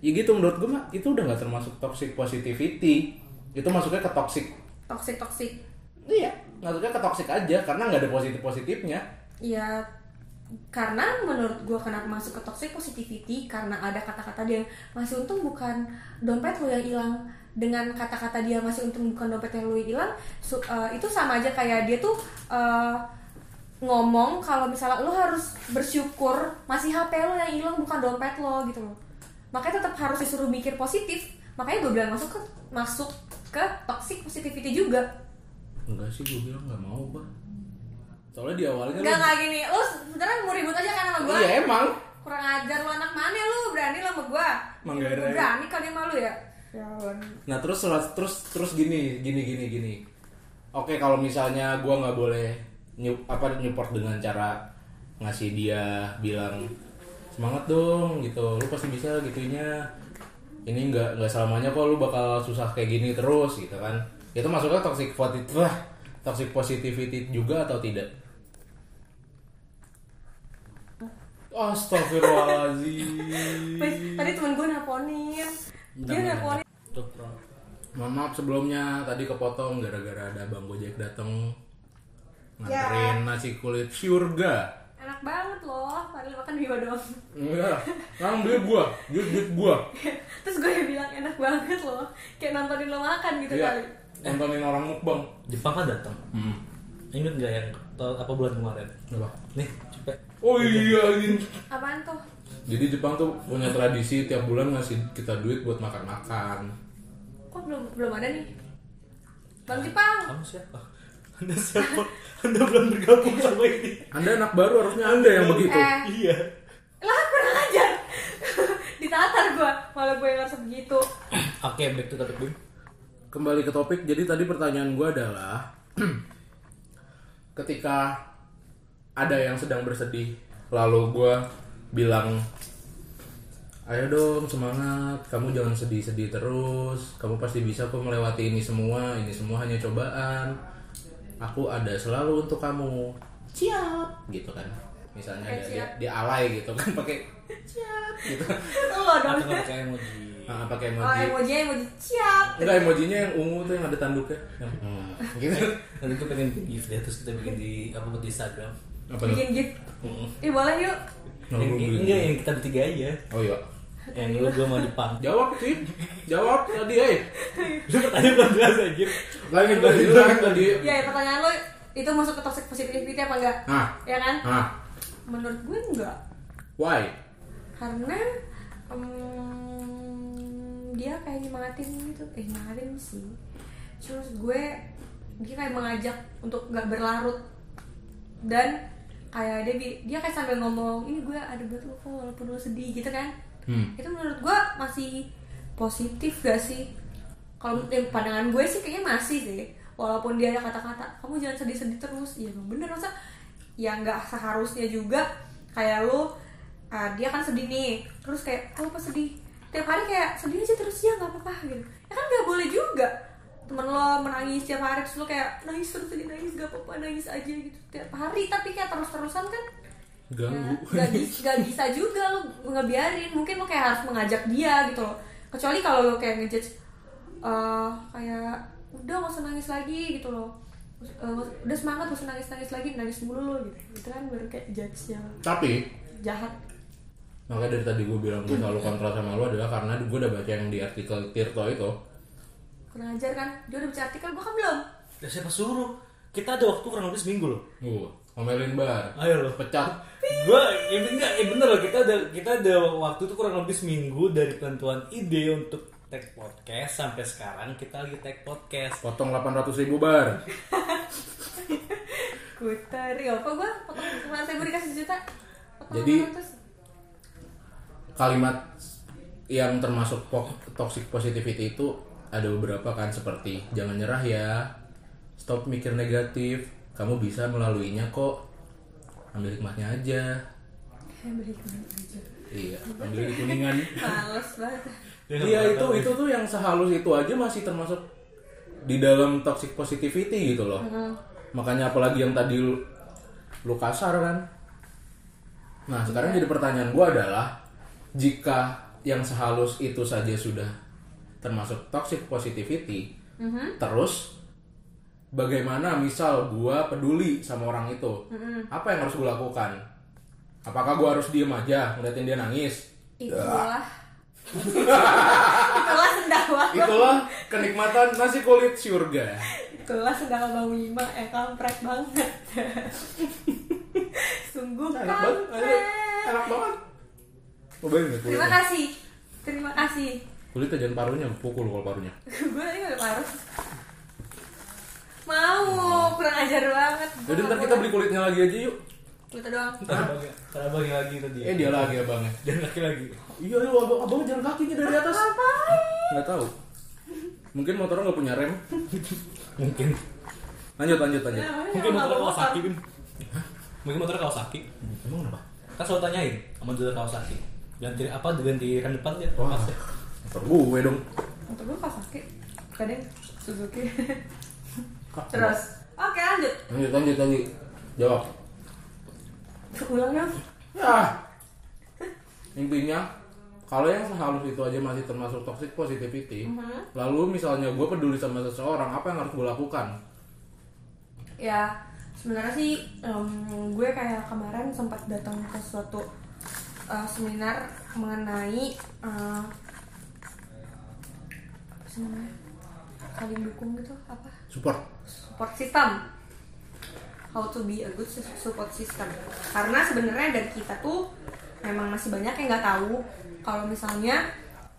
Ya gitu menurut gua mah itu udah nggak termasuk toxic positivity. Itu masuknya ke toxic. Toxic toxic. Iya, masuknya ke toxic aja karena nggak ada positif-positifnya. Iya karena menurut gue kenapa masuk ke toxic positivity karena ada kata-kata dia yang masih untung bukan dompet lo yang hilang dengan kata-kata dia masih untung bukan dompet yang lo hilang su- eh, itu sama aja kayak dia tuh eh, ngomong kalau misalnya lo harus bersyukur masih HP lo yang hilang bukan dompet lo gitu loh makanya tetap harus disuruh mikir positif makanya gue bilang masuk ke masuk ke toxic positivity juga Enggak sih gue bilang nggak mau bah. Soalnya di awalnya nggak lu- nggak gini lo sebenarnya mau ribut aja kan sama gue Iya emang. kurang ajar lu anak mana lu berani lu sama gua Lu Manggarai. berani kali sama lu ya ya Nah terus selat- terus terus gini gini gini gini. Oke kalau misalnya gua nggak boleh nyu- apa nyupport dengan cara ngasih dia bilang semangat dong gitu, lu pasti bisa gitunya. Ini nggak nggak selamanya kok lu bakal susah kayak gini terus gitu kan. Itu masuknya toxic positivity, wah, toxic positivity juga atau tidak? Astagfirullahaladzim tadi temen gua nelponin dia nelponin Tuh, Bro. Mohon maaf sebelumnya tadi kepotong gara-gara ada Bang Gojek dateng Ya. nganterin nasi kulit surga. enak banget loh padahal makan di dong Enggak, nang Iya. Kan duit gua, duit duit gua. terus gue yang bilang enak banget loh kayak nontonin lo makan gitu Iya, kali nontonin orang mukbang. Jepang kan datang. Hmm. Ingat nggak yang tahun apa bulan kemarin? Apa? Nih, cepet. Oh iya, anjing. apaan tuh jadi Jepang tuh punya tradisi tiap bulan ngasih kita duit buat makan-makan. kok belum belum ada nih bang Jepang Kamu siapa? Anda siapa? Anda belum bergabung sama ini. Anda anak baru harusnya Anda yang begitu. eh Iya. lah kurang ajar ditatar gua malah gue yang gitu. harus begitu Oke, back to topic Bim. Kembali ke topik, jadi tadi pertanyaan gua adalah ketika ada yang sedang bersedih lalu gue bilang ayo dong semangat kamu jangan sedih-sedih terus kamu pasti bisa kok melewati ini semua ini semua hanya cobaan aku ada selalu untuk kamu siap gitu kan misalnya Oke, ada siap. dia, dia alay gitu kan pakai siap gitu lo dong Atau nggak pakai emoji? nah, pakai oh emoji emojinya emoji siap enggak emojinya yang ungu tuh yang ada tanduknya Yang, hmm, gitu Nanti gue pengen bikin gift deh, terus kita bikin di apa di Instagram. apa tuh? bikin gift Heeh. Ih boleh yuk Nah, gua Yang- beli. Enggak, yang kita bertiga aja. oh iya Yang lu gue mau depan. jawab sih jawab tadi eh Lu pertanyaan belum jelas aja. gitu. lagi tadi lagi tadi Ya pertanyaan lo itu masuk ke toxic positivity apa enggak? nah Ya kan? nah Menurut gue enggak Why? Karena em, Dia kayak nyemangatin gitu Eh nyemangatin sih Terus gue Dia kayak mengajak untuk gak berlarut Dan kayak dia bi- dia kayak sambil ngomong ini gue ada buat lo kok walaupun lo sedih gitu kan Hmm. itu menurut gue masih positif gak sih kalau eh, pandangan gue sih kayaknya masih sih walaupun dia ada kata-kata kamu jangan sedih-sedih terus ya emang bener masa ya nggak seharusnya juga kayak lu ah, dia kan sedih nih terus kayak kamu pas sedih tiap hari kayak sedih aja terus ya nggak apa-apa gitu ya kan nggak boleh juga temen lo menangis tiap hari terus lo kayak nangis terus sedih nangis gak apa-apa nangis aja gitu tiap hari tapi kayak terus-terusan kan Ganggu. Ya, gak, bis- gak bisa juga lu ngebiarin mungkin lu kayak harus mengajak dia gitu loh kecuali kalau lu kayak ngejudge eh kayak udah gak usah nangis lagi gitu loh Eh, udah semangat gak usah nangis nangis lagi nangis mulu lo gitu itu kan baru kayak judge yang Tapi jahat makanya dari tadi gue bilang gue selalu kontra sama lu adalah karena gue udah baca yang di artikel Tirto itu. kurang ajar kan dia udah baca artikel gua kan belum Ya siapa suruh? Kita ada waktu kurang lebih seminggu loh. Uh, omelin bar. Ayo lo. Pecat. Gue, ya enggak, ya bener loh. Kita ada, kita ada waktu tuh kurang lebih seminggu dari penentuan ide untuk tag podcast sampai sekarang kita lagi tag podcast. Potong 800 ribu bar. gue tarik kok gua potong kemarin saya dikasih juta potong Jadi- 800. Kalimat yang termasuk po- toxic positivity itu ada beberapa kan seperti jangan nyerah ya. Stop mikir negatif. Kamu bisa melaluinya kok. Ambil hikmahnya aja. Eh, beri kemarin aja Iya, ambil di kuningan. males banget kan? Iya itu itu tuh yang sehalus itu aja masih termasuk di dalam toxic positivity gitu loh. Makanya apalagi yang tadi lu, lu kasar kan. Nah sekarang jadi pertanyaan gua adalah jika yang sehalus itu saja sudah termasuk toxic positivity, terus bagaimana misal gua peduli sama orang itu, apa yang harus gua lakukan? Apakah gue harus diem aja ngeliatin dia nangis? itulah itulah sendawa Itulah Gitu kenikmatan nasi kulit surga. itulah sendawa bang Wima eh kampret banget sungguh Enak banget. enak- kampret Enak banget. Cobain deh terima kulitnya. kasih terima kasih Kulitnya jangan parunya, pukul kalau parunya. gue tadi nggak parah mau kurang ajar banget Gua Jadi nggak ntar kita boleh. beli kulitnya lagi aja yuk. Kita doang Terabang lagi tadi. Eh dia lagi abangnya. Dan laki lagi. Iya lu abang, abang jalan kakinya dari atas. Ngapain? Nggak tahu. Mungkin motornya nggak punya rem. Mungkin. Lanjut lanjut lanjut. Mungkin Mungkin motornya Kawasaki, Bim. Mungkin motornya Kawasaki. Emang kenapa? Kan selalu tanyain sama dealer Kawasaki. Ganti apa? Ganti rem depan ya? Wah, Lepas ya? motor gue dong. Untuk gue Kawasaki Kadang Suzuki Kak, Terus Oke lanjut Lanjut lanjut lanjut. Jawab. Ulang dong Ya. Intinya kalau yang sehalus itu aja masih termasuk toxic positivity, Mhm. lalu misalnya gue peduli sama seseorang, apa yang harus gue lakukan? Ya sebenarnya sih em, Gue kayak kemarin sempat datang ke suatu eh, Seminar Mengenai eh, Apa sih namanya Saling dukung gitu Apa Support. support system how to be a good su- support system karena sebenarnya dari kita tuh memang masih banyak yang nggak tahu kalau misalnya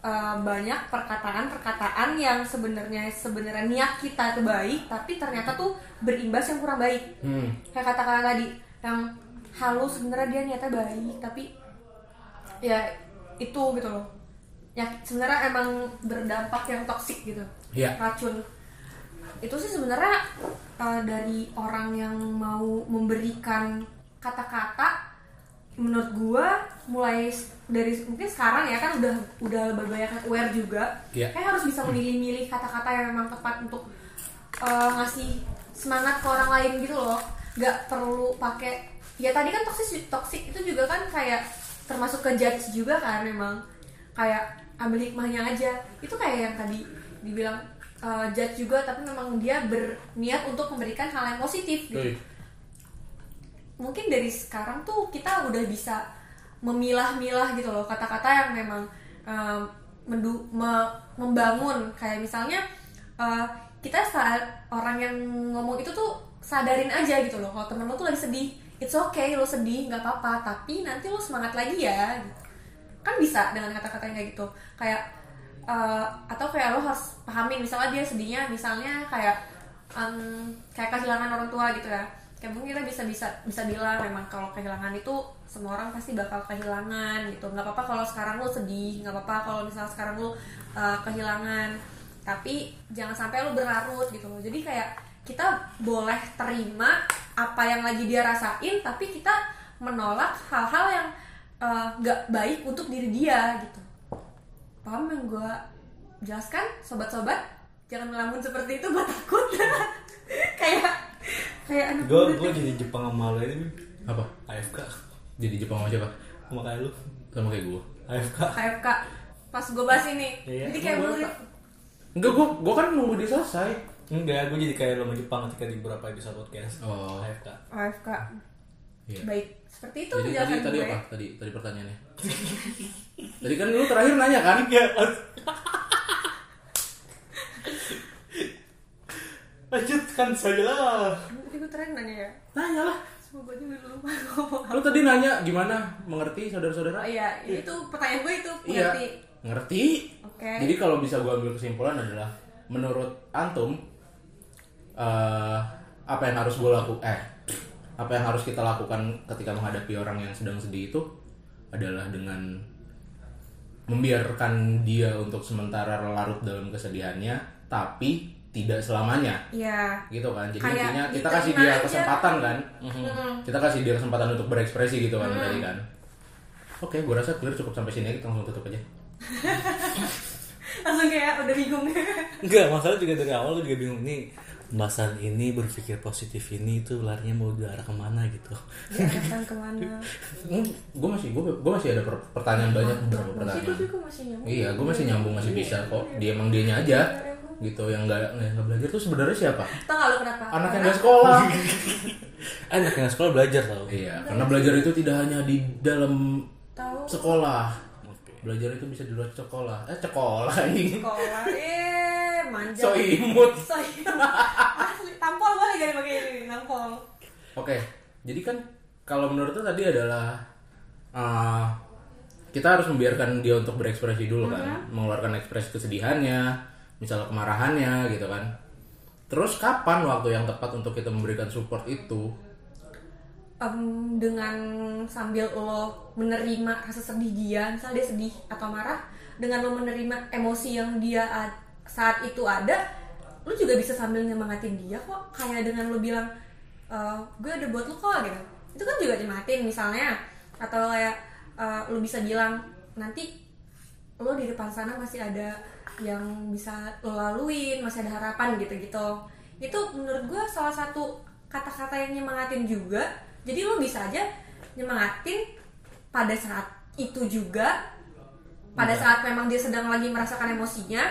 eh, banyak perkataan-perkataan yang sebenarnya sebenarnya niat kita tuh baik tapi ternyata tuh berimbas yang kurang baik Hmm. kayak kata-kata tadi yang halus sebenarnya dia niatnya baik tapi ya itu gitu loh ya sebenarnya emang berdampak yang toksik gitu Iya. racun itu sih sebenarnya uh, dari orang yang mau memberikan kata-kata menurut gua mulai s- dari mungkin sekarang ya kan udah udah lebih banyak yang aware juga Iya. kayak harus bisa memilih-milih kata-kata yang memang tepat untuk uh, ngasih semangat ke orang lain gitu loh nggak perlu pakai ya tadi kan toksik toksik itu juga kan kayak termasuk ke judge juga kan memang kayak ambil hikmahnya aja itu kayak yang tadi dibilang uh, judge juga tapi memang dia berniat untuk memberikan hal yang positif gitu Yoi. mungkin dari sekarang tuh kita udah bisa memilah-milah gitu loh kata-kata yang memang um, mendu- me- membangun kayak misalnya uh, kita saat orang yang ngomong itu tuh sadarin aja gitu loh kalau temen lo tuh lagi sedih it's okay lo sedih nggak apa-apa tapi nanti lo semangat lagi ya kan bisa dengan kata-kata yang kayak gitu kayak eh, atau kayak lo harus pahamin misalnya dia sedihnya misalnya kayak em, kayak kehilangan orang tua gitu ya kayak mungkin kita bisa bisa bisa bilang memang kalau kehilangan itu semua orang pasti bakal kehilangan gitu nggak apa-apa kalau sekarang lo sedih nggak apa-apa kalau misalnya sekarang lo eh, kehilangan tapi jangan sampai lo berlarut gitu loh jadi kayak kita boleh terima apa yang lagi dia rasain tapi kita menolak hal-hal yang eh, nggak baik untuk diri dia gitu paham yang gue jelaskan sobat-sobat jangan ngelamun seperti itu gue takut kayak kayak anak Gue muda. gue jadi Jepang sama lo ini Bim. Apa? AFK Jadi Jepang aja pak? sama kayak lu. Sama kayak gue. AFK. KFK pas gue bahas ini Iya, jadi kayak emang murid boleh, Enggak, gue gue kan nunggu dia selesai. Enggak, gue jadi kayak lo sama Jepang ketika di beberapa episode podcast. Oh. AFK. AFK Iya. baik seperti itu Jadi tadi penjelasan ya. tadi gue apa? Tadi tadi pertanyaannya. tadi kan lu terakhir nanya kan? Iya. Lanjutkan saja lah. Jadi gue terakhir nanya ya Nanya lah. semoga gue juga lupa ngomong Lu tadi nanya gimana mengerti oh saudara-saudara? iya ini tuh pertanyaan gue Iya. itu ngerti Ngerti. oke Jadi kalau bisa gue ambil kesimpulan adalah menurut antum eh, apa yang harus gue laku eh apa yang harus kita lakukan ketika menghadapi orang yang sedang sedih itu adalah dengan membiarkan dia untuk sementara larut dalam kesedihannya tapi tidak selamanya iya gitu kan jadi Kayak intinya kita diterima kasih dia aja. Mm-hmm. kesempatan kan Mm-mm. kita kasih dia kesempatan untuk berekspresi gitu kan tadi Mm-hmm. kan oke gue rasa clear cukup sampai sini kita langsung tutup aja langsung kayak udah bingung Enggak, masalah juga dari awal gue juga bingung nih. Pembahasan ini berpikir positif ini itu larinya mau ke arah kemana gitu. diarahkan kemana gue masih gue masih ada per- pertanyaan banyak beberapa Iya, masih pertanyaan gue juga masih iya. nyamuk iya gue masih nyambung masih bisa kok dia emang dianya aja iya, gitu yang nggak yang nggak belajar tuh sebenarnya siapa tau gak lo kenapa anak yang nggak sekolah anak yang sekolah belajar tau Iya, karena belajar itu tidak hanya di dalam tahu sekolah. Oke. Belajar itu bisa di luar sekolah. Eh, sekolah ini. sekolah eh manja So iya. imut. so imut. asli tampol boleh gak dipakai ini tampol Oke, jadi kan kalau menurut lu tadi adalah eh, kita harus membiarkan dia untuk berekspresi dulu kan, Mm-hmm. mengeluarkan ekspresi kesedihannya, misalnya kemarahannya gitu kan. Terus kapan waktu yang tepat untuk kita memberikan support itu? Em, dengan sambil lo menerima rasa sedih dia, misalnya dia sedih atau marah, dengan lo menerima emosi yang dia a- saat itu ada, lo juga bisa sambil nyemangatin dia kok. Kayak dengan lo bilang, "Eh, gue ada buat lo kok gitu. Itu kan juga nyemangatin misalnya. Atau kayak eh, lo bisa bilang, nanti lo oh, di depan sana masih ada yang bisa lo laluin, masih ada harapan gitu-gitu. Itu menurut gue salah satu kata-kata yang nyemangatin juga. Jadi lo bisa aja nyemangatin pada saat itu juga, Iya. pada saat memang dia sedang lagi merasakan emosinya.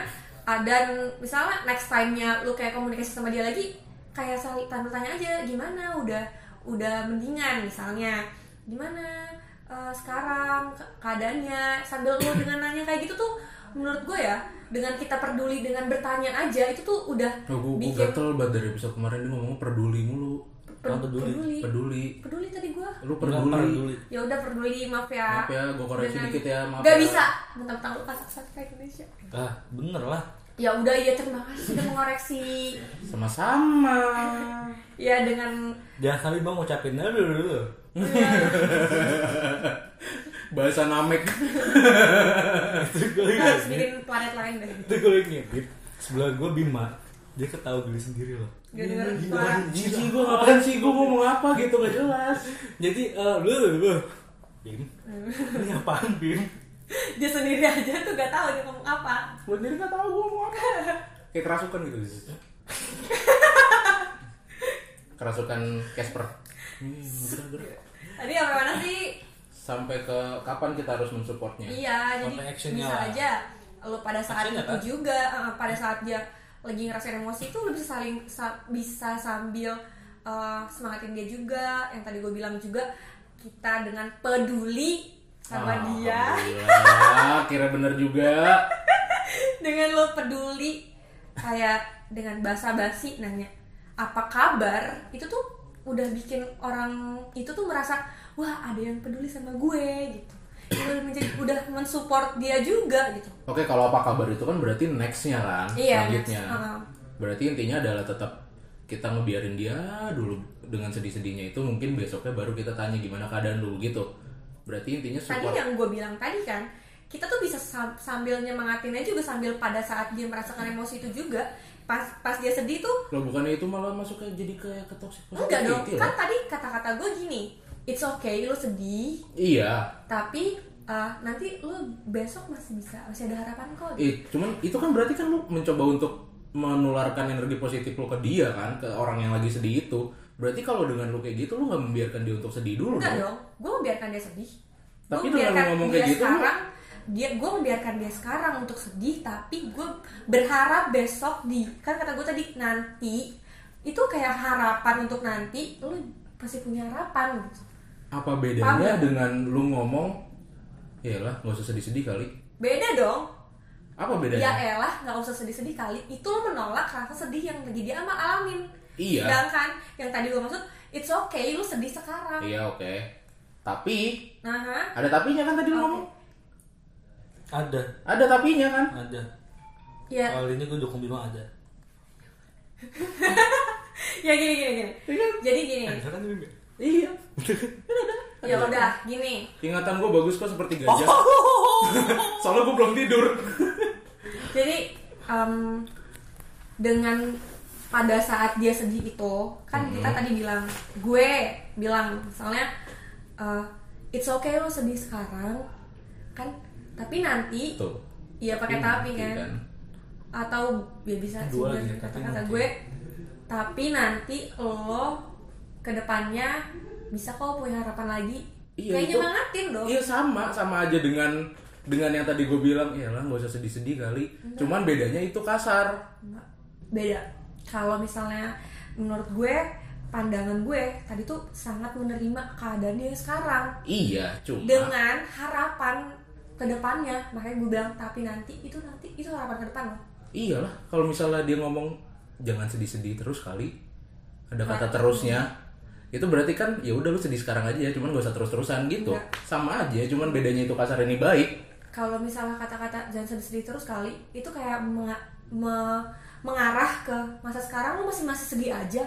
ah, Dan misalnya next time-nya lo kayak komunikasi sama dia lagi, kayak saling tanda tanya aja gimana, udah udah mendingan misalnya, gimana eh, sekarang ke- keadaannya sambil lo dengan nanya kayak gitu tuh menurut gue ya dengan kita peduli dengan bertanya aja itu tuh udah Tuh, gua, gua bikin gatel banget dari episode kemarin dia ngomong peduli mulu. per- Apa peduli? peduli Peduli. peduli tadi gue Lu Nggak pernah peduli. peduli. ya udah peduli maaf ya Maaf ya, gue koreksi Dengan- dikit ya, maaf Nggak ya. bisa mentang-mentang lu pasang subscribe Indonesia ah bener lah ya udah ya terima kasih udah mengoreksi Sama-sama. ya dengan jangan sampai bang ngucapin dulu dulu, dulu Bahasa namek. itu gue Nah, kita harus lagi bikin planet lain deh itu gue lagi ngedit sebelah gue Bima dia ketawa geli sendiri loh gak denger suara Cici gue ngapain sih? Gue ngomong apa gitu gak jelas. jadi eh, lu lu lu Bim ini apaan Bim dia sendiri aja tuh gak tahu dia ngomong apa Gue sendiri gak tau gue ngomong apa. Kayak kerasukan gitu. kerasukan Casper. Hmm, gerak-gerak. tadi apa mana sih Sampai ke kapan kita harus mensupportnya? Iya, jadi Sampai actionnya bisa lah. aja lo pada saat Actionnya itu kan? juga eh, pada saat dia lagi ngerasain emosi itu lo bisa saling sa- bisa sambil eh, semangatin dia juga. Yang tadi gue bilang juga kita dengan peduli Ah, sama dia, Ah, Alhamdulillah, Kira bener juga. dengan lo peduli kayak dengan basa-basi nanya apa kabar itu tuh udah bikin orang itu tuh merasa wah ada yang peduli sama gue gitu. Itu udah menjadi udah mensupport dia juga gitu. Oke, kalau apa kabar itu kan berarti nextnya kan, Iya, selanjutnya. next. Heeh. Berarti intinya adalah tetap kita ngebiarin dia dulu dengan sedih-sedihnya itu mungkin besoknya baru kita tanya gimana keadaan lu gitu. Berarti intinya tadi support. yang gue bilang tadi kan kita tuh bisa sam- sambil nyemangatinnya juga sambil pada saat dia merasakan emosi itu juga pas pas dia sedih tuh Lo bukannya itu malah masuknya jadi kayak ke toxic enggak dong positivity ya? kan loh. tadi kata-kata gue gini it's okay lu sedih Iya. tapi eh, nanti lu besok masih bisa masih ada harapan kok gitu. Eh, cuman itu kan berarti kan lu mencoba untuk menularkan energi positif lu ke dia kan, ke orang yang lagi sedih itu. Berarti kalau dengan lu kayak gitu lu nggak membiarkan dia untuk sedih dulu enggak dong. dong gue membiarkan dia sedih Gua Tapi dengan lu membiarkan ngomong dia kayak gitu, lu- sekarang dia gue membiarkan dia sekarang untuk sedih tapi gue berharap besok di kan kata gue tadi nanti itu kayak harapan untuk nanti lu pasti punya harapan gitu. Apa bedanya Paham. dengan lu ngomong Yalah, nggak usah sedih-sedih kali. beda dong Apa ya bedanya? elah nggak usah sedih-sedih kali itu lo menolak rasa sedih yang lagi dia ama alamin Iya. sedangkan yang tadi gue maksud it's okay lu sedih sekarang Iya, oke. Tapi nah ha? ada tapinya kan tadi lu ngomong? ada Ada tapinya kan? ada ya kali ini gue dukung Bima ada ya gini gini gini jadi gini ada kan Bima Iya. ya udah gini Ingatan gue bagus kok seperti gajah. Oh. Soalnya gue belum tidur. Jadi em, dengan pada saat dia sedih itu kan kita tadi bilang gue bilang misalnya eh, it's okay lo sedih sekarang kan tapi nanti Tuh. iya pakai tapi kan atau ya bisa Dua juga lagi, tapi kata-kata nanti. gue tapi nanti lo kedepannya bisa kok punya harapan lagi Iya, kayak itu- nyemangatin dong Iya sama, sama aja dengan dengan yang tadi gue bilang, ya lah nggak usah sedih-sedih kali. Cuman bedanya itu kasar. Enggak. beda kalau misalnya menurut gue pandangan gue tadi tuh sangat menerima keadaan dia sekarang Iya, cuma dengan harapan ke depannya makanya gue bilang tapi nanti itu nanti itu harapan ke depan loh iyalah Iya kalau misalnya dia ngomong jangan sedih-sedih terus kali ada Nah. kata terusnya itu berarti kan ya udah lu sedih sekarang aja cuman gak usah terus-terusan gitu sama aja cuman bedanya itu kasar ini baik kalau misalnya kata-kata jangan sedih-sedih terus kali itu kayak menga- me- mengarah ke masa sekarang lu masih masih sedih aja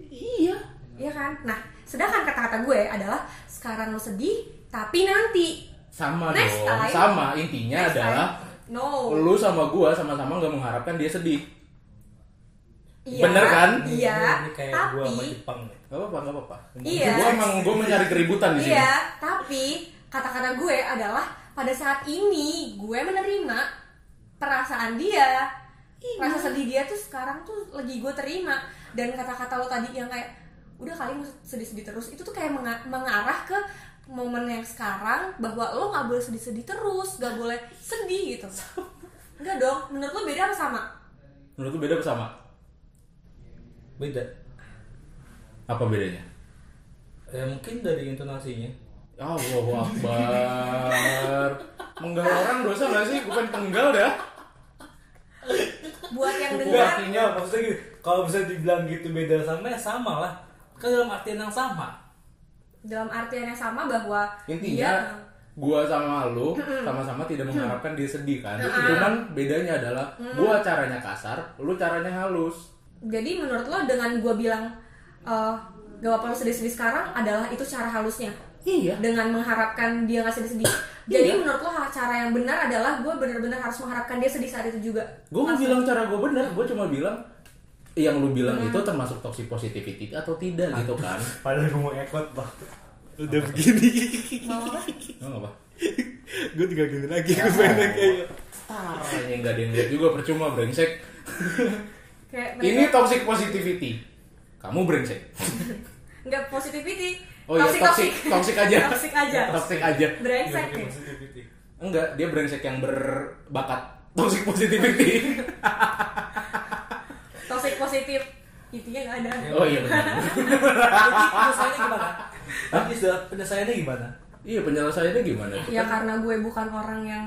iya Iya kan nah sedangkan kata-kata gue adalah sekarang lu sedih tapi nanti sama Next dong time. sama intinya Next adalah time. no lu sama gua sama-sama nggak mengharapkan dia sedih Iya, bener kan? iya Ini kayak gua sama tapi Jepang nih. Gak apa-apa, gak apa-apa. Iya. Gue emang gue mencari keributan di sini. iya tapi kata-kata gue adalah pada saat ini gue menerima perasaan dia Iya. rasa sedih dia tuh sekarang tuh lagi gue terima dan kata-kata lo tadi yang kayak udah kali mau sedih-sedih terus itu tuh kayak menga- mengarah ke momen yang sekarang bahwa lo nggak boleh sedih-sedih terus gak boleh sedih gitu Enggak dong menurut lo beda apa sama Menurut lu beda apa sama? Beda. Apa bedanya? Ya mungkin dari intonasinya. Allahu Akbar. Menggal orang dosa gak sih? Gue pengen penggal dah. buat yang Bukan dengar artinya maksudnya gitu. Kalau bisa dibilang gitu beda sama ya sama lah. Kan dalam artian yang sama. dalam artian yang sama bahwa Intinya, dia- eh, gue sama lu sama-sama tidak mengharapkan dia sedih kan. Cuman bedanya adalah gue caranya kasar, lu caranya halus. Jadi menurut lo dengan gue bilang eh, gak apa-apa lo sedih-sedih sekarang adalah itu cara halusnya Iya. dengan mengharapkan dia nggak sedih-sedih. Jadi menurut lo cara yang benar adalah gue benar-benar harus mengharapkan dia sedih saat itu juga. Gue mau bilang cara gue bener, gue cuma bilang yang lu bilang itu termasuk toxic positivity atau tidak gitu kan? Padahal gue mau ekot loh. Udah begini. gitu. Mau apa? Nggak apa? gue tinggal gini lagi. Gue pengen kayak. gitu. Parahnya nggak ada yang lihat juga percuma brengsek. Kayak Ini toxic positivity. Kamu brengsek. nggak positivity. Oh iya, toxic, toxic aja. Toxic aja. Toxic Iya, aja. Brengsek. ya. Enggak, dia brengsek yang berbakat. Toxic positivity. Toxic positif. Intinya nggak ada. oh iya benar. Penyelesaiannya gimana? Tapi sudah penyelesaiannya gimana? iya, penyelesaiannya gimana? tuh? Ya karena gue bukan orang yang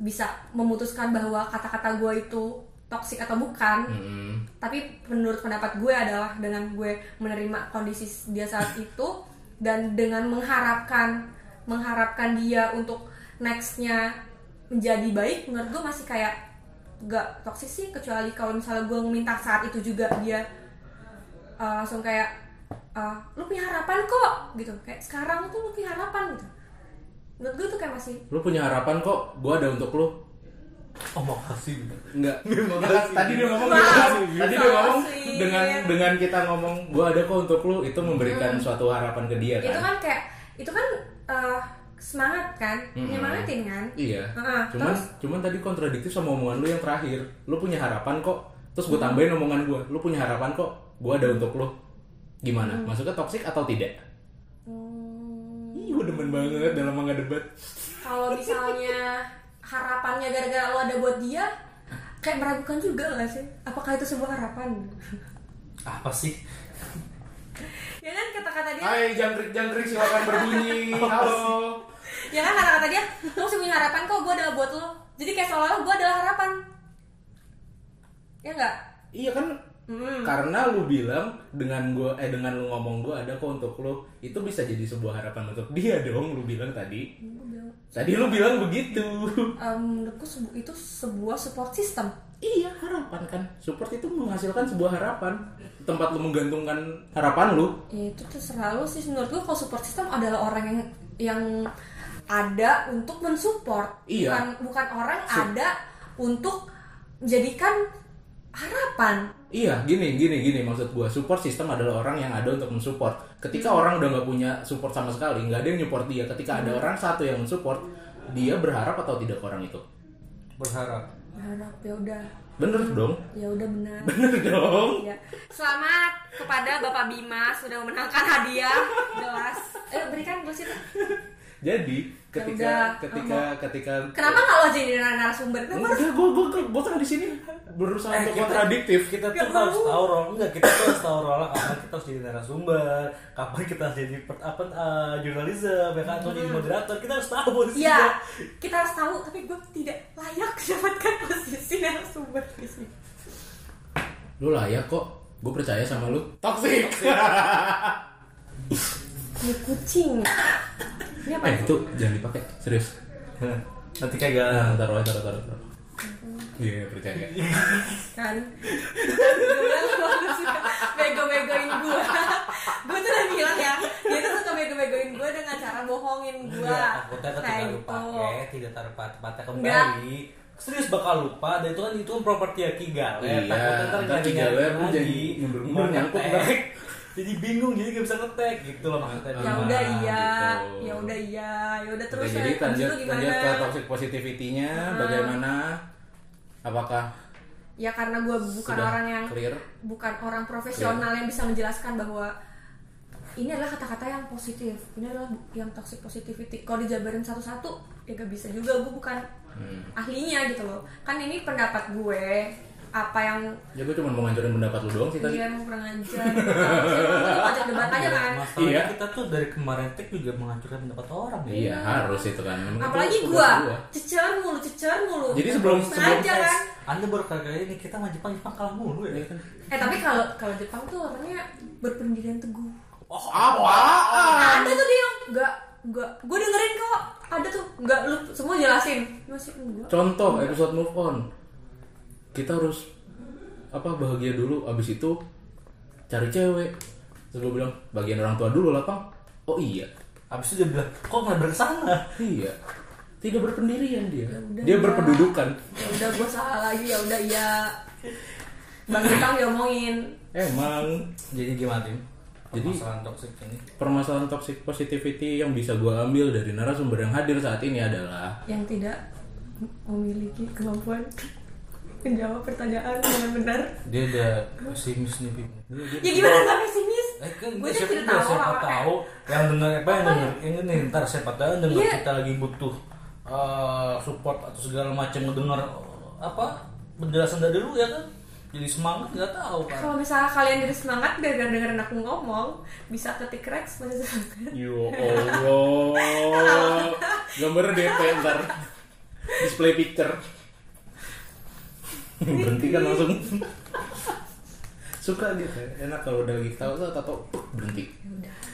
bisa memutuskan bahwa kata-kata gue itu toksik atau bukan. Hmm. tapi menurut pendapat gue adalah dengan gue menerima kondisi dia saat itu dan dengan mengharapkan mengharapkan dia untuk nextnya menjadi baik menurut gue masih kayak gak toksis sih kecuali kalau misalnya gue minta saat itu juga dia uh, langsung kayak uh, lu punya harapan kok gitu kayak sekarang tuh lu punya harapan gitu menurut gue tuh kayak masih Lu punya harapan kok, gua ada untuk lu. Oh makasih. Enggak. Tadi dia ngomong Makasih. dengan- tadi dia ngomong Makasih. dengan dengan kita ngomong gua ada kok untuk lu itu memberikan suatu harapan ke dia Hmm. itu kan. kan kayak itu kan uh, semangat kan Mm-mm. nyemangatin kan Iya. Heeh, cuman terus? cuman tadi kontradiktif sama omongan lu yang terakhir. Lu punya harapan kok. Terus Hmm. gue tambahin omongan gue. Lu punya harapan kok. Gue ada untuk lu. Gimana? Masuknya toksik atau tidak? Hmm. Ih, gue demen banget dalam mangga debat. kalau misalnya harapannya gara-gara lo ada buat dia kayak meragukan juga gak sih apakah itu sebuah harapan Apa sih? ya kan kata-kata dia Hai, jangkrik-jangkrik silakan berbunyi. Halo. ya kan kata-kata dia lo masih punya harapan kok gue adalah buat lo jadi kayak seolah-olah gue adalah harapan ya nggak Iya kan? Mm. Karena lu bilang dengan gua eh dengan lu ngomong gue ada kok untuk lu, itu bisa jadi sebuah harapan untuk dia dong lu bilang tadi. Iya, Gua bilang, Tadi lu bilang begitu. "Em, menurutku sebu- itu sebuah support system Iya harapan kan Support itu menghasilkan sebuah harapan Tempat lu menggantungkan harapan lu ya itu terserah lo sih menurut gue kalau support system adalah orang yang yang ada untuk mensupport Iya. bukan bukan orang ada untuk menjadikan harapan Iya gini gini gini maksud gua Support sistem adalah orang yang ada untuk mensupport Ketika orang udah nggak punya support sama sekali nggak ada yang nyupport dia Ketika ada orang satu yang mensupport Dia berharap atau tidak ke orang itu Berharap. harap ya udah Bener dong ya udah benar Bener dong ya. selamat kepada bapak Bima sudah memenangkan hadiah gelas eh berikan gelas itu Jadi ketika udah, ketika ketika Kenapa nggak lo jadi narasumber? Kenapa harus- Enggak, gue gue gue kan di sini Eh, berusaha gitu. untuk kontradiktif. kita Nggak tuh harus mau. tahu role enggak kita tuh harus tahu role kapan kita harus jadi narasumber kapan kita harus jadi per, apa eh, jurnalisme ya kan atau jadi moderator kita harus tahu posisinya Iya, kita harus tahu. Tapi gue tidak layak mendapatkan posisi narasumber di sini. Lu layak kok. Gue percaya sama lu. Toxic. Ini kucing. Ini apa? eh, itu jangan dipakai. Serius. nanti kagak Nah, taruh aja, taruh, taruh, taruh. Iya, percaya. kan Gua bilang lu harus suka bego-begoin gue gue tuh udah bilang ya dia tuh suka bego-begoin gue dengan cara bohongin gitu. gue Iya, Enggak, takutnya Nah, ketika lu pakai Ya, tidak terpat patah kembali serius bakal lupa dan itu kan itu kan properti Akiga Iya, ntar Kigaler lu jadi nyembur-nyembur, nyangkut, ntar. jadi bingung jadi gak bisa ngetek gitu loh maksudnya ya Nah, udah iya gitu. ya udah iya ya udah terus Oke, ya jadi Abis lanjut itu lanjut gimana Ah. ke toxic positivity-nya bagaimana? Apakah ya karena gue bukan Sudah orang yang clear. bukan orang profesional yang bisa menjelaskan bahwa ini adalah kata-kata yang positif ini adalah bu- yang toxic positivity kalau dijabarin satu-satu ya gak bisa juga gue bukan Hmm. ahlinya gitu loh kan ini pendapat gue apa yang ya gue cuma mau ngancurin pendapat lu doang sih tadi. dia mau kurang ajar gitu. Siapa ajak debat aja kan masalahnya Iya. kita tuh dari kemarin tek juga menghancurkan pendapat orang ya. Iya, harus itu kan. Memang itu apalagi tugas gue cecer mulu cecer mulu Jadi sebelum sebelum sengaja kan Anda baru kali kali ini kita sama Jepang Jepang kalah mulu Iya ya. kan? eh tapi kalau kalau Jepang tuh orangnya berpendirian teguh Oh, apaan? ada tuh dia yang nggak nggak gue dengerin kok ada tuh nggak lu semua jelasin masih enggak Contoh episode move on. Kita harus apa bahagia dulu abis itu cari cewek. Terus gue bilang bagian orang tua dulu lah, Pang. Oh iya. Habis itu dia bilang, "Kok nggak bersama?" Iya. Tidak berpendirian dia. Dia berpendudukan. ya udah gue salah lagi ya udah ya bang Jepang diomongin Emang Jadi gimana, Tim? Jadi- masalah toksik ini. permasalahan toxic positivity yang bisa gue ambil dari narasumber yang hadir saat ini adalah yang tidak memiliki kemampuan menjawab pertanyaan dengan benar Dia ada pesimis nih, Pim. ya gimana gak pesimis Eh kan gue tuh siapa tidak tahu, tahu siapa apa tahu yang dengar apa yang dengar ini nih ntar siapa tahu yang dengar Iya. kita lagi butuh eh, support atau segala macam dengar apa penjelasan dari lu ya kan jadi semangat nggak tahu kan kalau misalnya kalian jadi semangat gara-gara dengerin aku ngomong bisa ketik Rex masih semangat Yo Allah Gambar DP ntar Display picture Berhenti kan langsung Suka gitu ya. Enak kalau udah lagi tahu tahu tahu berhenti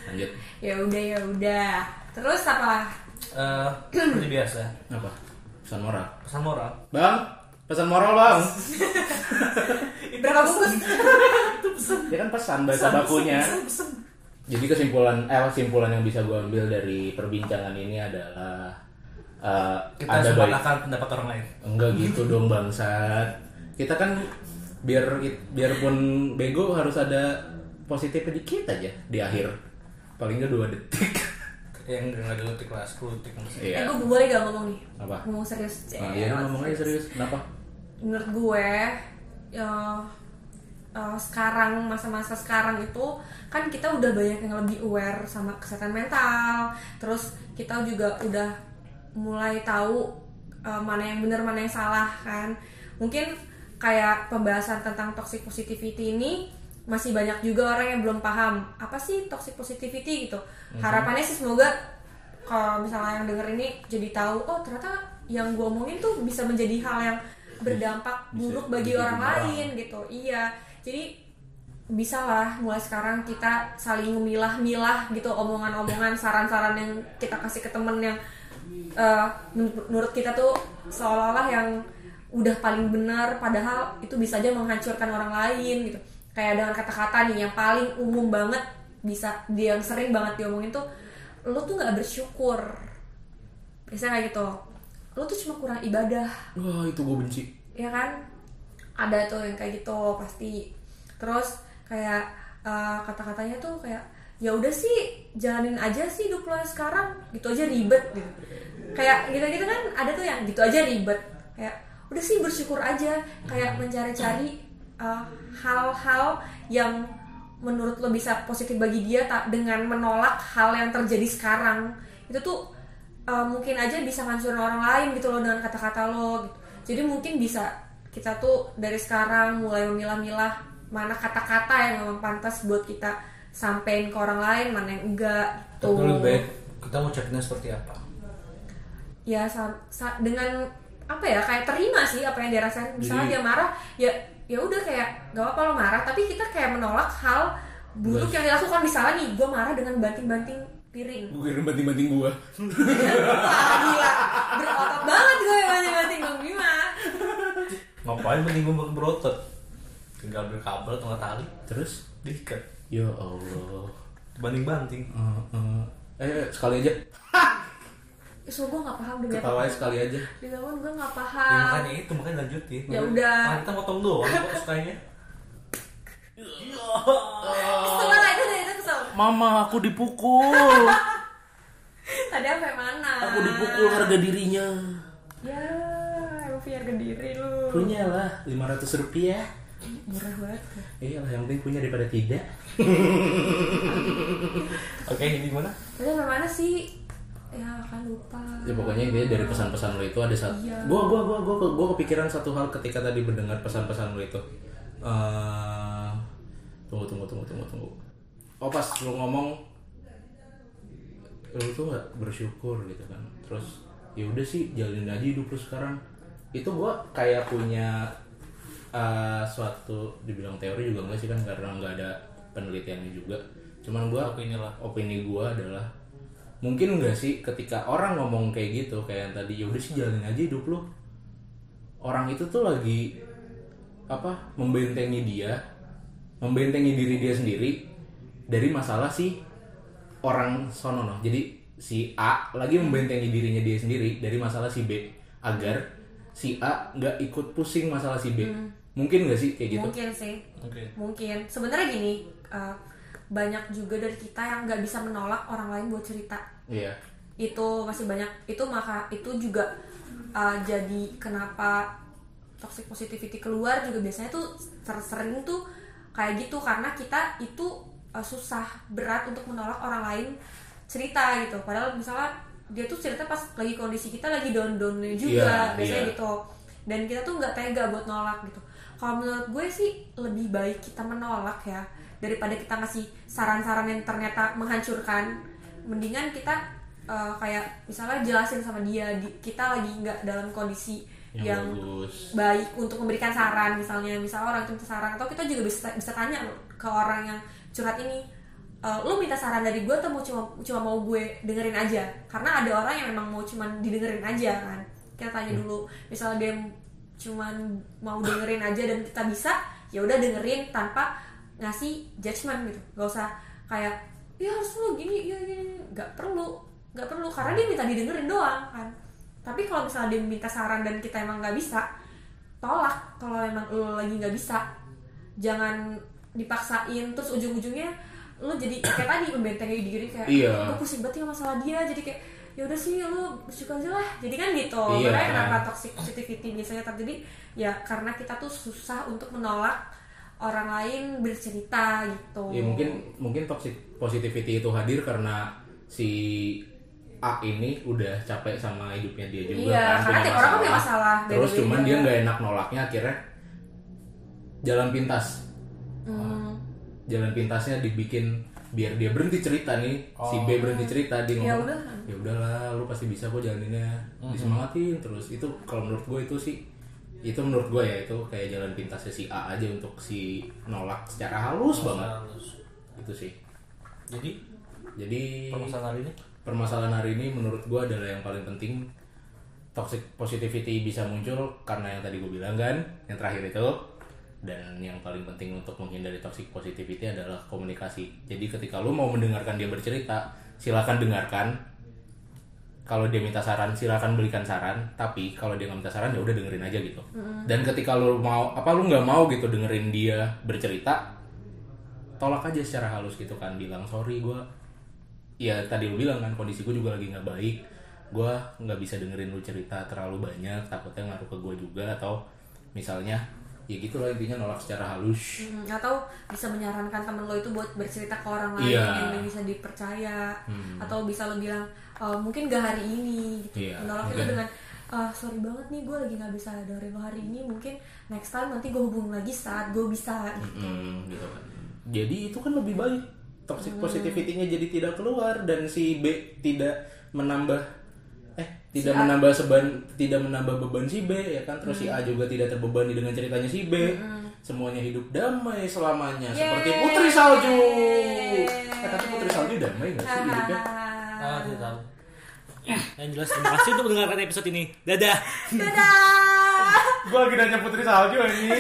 Lanjut ya udah ya udah terus apa Eh, seperti biasa Apa? Pesan moral pesan moral Bang Pesan moral bang berapa bungkus Ya kan pesan bahasa bakunya Jadi kesimpulan eh kesimpulan yang bisa gue ambil dari perbincangan ini adalah eh, kita ada baik semangatkan pendapat orang lain Enggak gitu dong bangsat. Kita kan biar biarpun bego harus ada positifnya dikit aja di akhir. Paling nggak dua detik. yang dengar dulu tik kelas 10 tik masih Eh, Iya. gue boleh gak ngomong nih? Apa? Ngomong serius. Cek. Nah, iya ngomong aja serius. Kenapa? Menurut gue, ya, eh, sekarang masa-masa sekarang itu kan kita udah banyak yang lebih aware sama kesehatan mental. Terus kita juga udah mulai tahu eh, mana yang benar mana yang salah kan. Mungkin kayak pembahasan tentang toxic positivity ini masih banyak juga orang yang belum paham apa sih toxic positivity gitu. Mhm. Harapannya sih semoga kalau misalnya yang denger ini jadi tahu oh ternyata yang gue omongin tuh bisa menjadi hal yang berdampak Bisa buruk bagi bikin orang orang. lain gitu iya jadi bisalah mulai sekarang kita saling memilah-milah gitu omongan-omongan saran-saran yang kita kasih ke temen yang eh, men- menurut kita tuh seolah-olah yang udah paling benar padahal itu bisa aja menghancurkan orang lain gitu kayak dengan kata-kata nih yang paling umum banget bisa dia yang sering banget diomongin tuh lo tuh nggak bersyukur biasanya kayak gitu lo tuh cuma kurang ibadah Wah, itu gue benci. ya kan ada tuh yang kayak gitu pasti terus kayak eh, kata-katanya tuh kayak ya udah sih jalanin aja sih hidup lo yang sekarang gitu aja ribet gitu kayak gitu-gitu kan ada tuh yang gitu aja ribet kayak udah sih bersyukur aja kayak mencari-cari eh, hal-hal yang menurut lo bisa positif bagi dia tak dengan menolak hal yang terjadi sekarang itu tuh eh, mungkin aja bisa ngancurin orang lain gitu loh dengan kata-kata lo gitu. jadi mungkin bisa kita tuh dari sekarang mulai memilah-milah mana kata-kata yang memang pantas buat kita sampein ke orang lain mana yang enggak gitu. Tapi tuh lebih baik kita mau ceknya seperti apa ya sa- sa- dengan apa ya kayak terima sih apa yang dia rasain misalnya dia marah ya ya udah kayak gak apa-apa lo marah tapi kita kayak menolak hal buruk yang dilakukan misalnya nih gue marah dengan banting-banting piring Gue kira banting-banting gua. Wah, gila berotot banget gue banting-banting bang Bima ngapain penting gue berotot tinggal ambil kabel atau nggak tali Terus? diikat Ya Allah. banting-banting Eh, eh. Eh, sekali aja. Ih, so gue gak paham demi apa Ketawanya sekali aja. demi apa gue gak ya, paham makanya itu makanya lanjutin Ya udah. Ah, kita potong doang kok sukanya kesel lah itu itu kesel Mama, aku dipukul. tadi apa yang mana aku dipukul harga dirinya. ya rupiah kediri lu Punya lah, 500 rupiah. murah banget Iya lah, yang penting punya daripada tidak. oke jadi gimana Tadi sampai mana sih? Ya kan lupa. Ya pokoknya intinya dari pesan-pesan lo itu ada satu. Iya. Gua, gua, gua, gua, gua kepikiran satu hal ketika tadi mendengar pesan-pesan lo itu. Eh, tunggu, tunggu, tunggu, tunggu, tunggu. Oh pas lo ngomong lo tuh nggak bersyukur gitu kan. Terus ya udah sih jalanin aja hidup lo sekarang. Itu gua kayak punya eh, suatu dibilang teori juga enggak sih kan karena nggak ada penelitiannya juga. Cuman gua opini lah opini gue adalah mungkin nggak sih ketika orang ngomong kayak gitu kayak yang tadi ya udah sih jalanin aja hidup lu orang itu tuh lagi apa membentengi dia membentengi diri dia sendiri dari masalah si orang sono no. jadi si A lagi membentengi dirinya dia sendiri dari masalah si B agar si A nggak ikut pusing masalah si B mungkin nggak sih kayak gitu Mungkin sih, oke mungkin. Sebenarnya gini, eh, banyak juga dari kita yang nggak bisa menolak orang lain buat cerita. iya Itu masih banyak. Itu maka itu juga eh, jadi kenapa toxic positivity keluar juga biasanya tuh ser- sering tuh kayak gitu karena kita itu eh, susah berat untuk menolak orang lain cerita gitu. Padahal misalnya dia tuh cerita pas lagi kondisi kita lagi down-downnya Iya, juga biasanya iya. gitu. gitu dan kita tuh nggak tega buat nolak gitu kalau menurut gue sih lebih baik kita menolak ya daripada kita ngasih saran-saran yang ternyata menghancurkan mendingan kita eh, kayak misalnya jelasin sama dia di- kita lagi nggak dalam kondisi yang, yang, bagus baik untuk memberikan saran misalnya misalnya orang itu minta saran atau kita juga bisa bisa tanya ke orang yang curhat ini e, lu minta saran dari gue atau mau cuma cuma mau gue dengerin aja karena ada orang yang memang mau cuma didengerin aja kan kita tanya dulu misalnya dia cuma mau dengerin aja dan kita bisa ya udah dengerin tanpa ngasih judgement gitu gak usah kayak ya harus lu gini ya gini nggak perlu nggak perlu karena dia minta didengerin doang kan tapi kalau misalnya dia minta saran dan kita emang nggak bisa tolak kalau emang lo lagi nggak bisa jangan dipaksain terus ujung-ujungnya lo jadi kayak tadi membentengi diri kayak Iya. gue pusing banget ya masalah dia jadi kayak ya udah sih lo bersyukur aja lah jadi kan gitu Iya. makanya kenapa toxic positivity biasanya terjadi ya karena kita tuh susah untuk menolak orang lain bercerita gitu Ya mungkin mungkin toxic positivity itu hadir karena si A ini udah capek sama hidupnya dia juga Iya, kan, karena tiap orang kan punya masalah, Terus beda-beda. cuman dia nggak enak nolaknya akhirnya jalan pintas. Hmm. Jalan pintasnya dibikin biar dia berhenti cerita nih. Si B berhenti cerita dia Ya ngomong. udah. Ya udahlah, lu pasti bisa kok jalaninnya. Disemangatin terus. Itu kalau menurut gue itu sih itu menurut gue ya itu kayak jalan pintasnya si A aja untuk si nolak secara halus banget Harus. itu sih. Nah, jadi Jadi permasalahan hari ini permasalahan hari ini menurut gue adalah yang paling penting toxic positivity bisa muncul karena yang tadi gue bilang kan yang terakhir itu dan yang paling penting untuk menghindari toxic positivity adalah komunikasi jadi ketika lu mau mendengarkan dia bercerita silakan dengarkan kalau dia minta saran silakan berikan saran tapi kalau dia nggak minta saran ya udah dengerin aja gitu dan ketika lu mau apa lu nggak mau gitu dengerin dia bercerita tolak aja secara halus gitu kan bilang sorry gue ya tadi lu bilang kan kondisi gue juga lagi nggak baik gue nggak bisa dengerin lu cerita terlalu banyak takutnya ngaruh ke gue juga atau misalnya ya gitu lah intinya nolak secara halus Mm, atau bisa menyarankan temen lo itu buat bercerita ke orang lain Iya. Hmm. yang memang bisa dipercaya atau bisa lo bilang "Eh, mungkin gak hari ini gitu Iya, menolak itu mungkin. dengan "Ah, sorry banget nih gue lagi nggak bisa dengerin lo hari ini mungkin next time nanti gue hubungin lagi saat gue bisa Mm, gitu kan. Jadi itu kan lebih baik. Toxic positivity-nya jadi tidak keluar dan si B tidak menambah eh tidak menambah seban tidak menambah beban si B ya kan terus si A juga tidak terbebani dengan ceritanya si B. Semuanya hidup damai selamanya seperti putri salju. Eh, tapi putri salju damai gak sih hidupnya? Ah, tidak tahu. Ah. Yang jelas terima kasih untuk mendengarkan episode ini. Dadah. dadah Gua lagi nanya putri salju ini.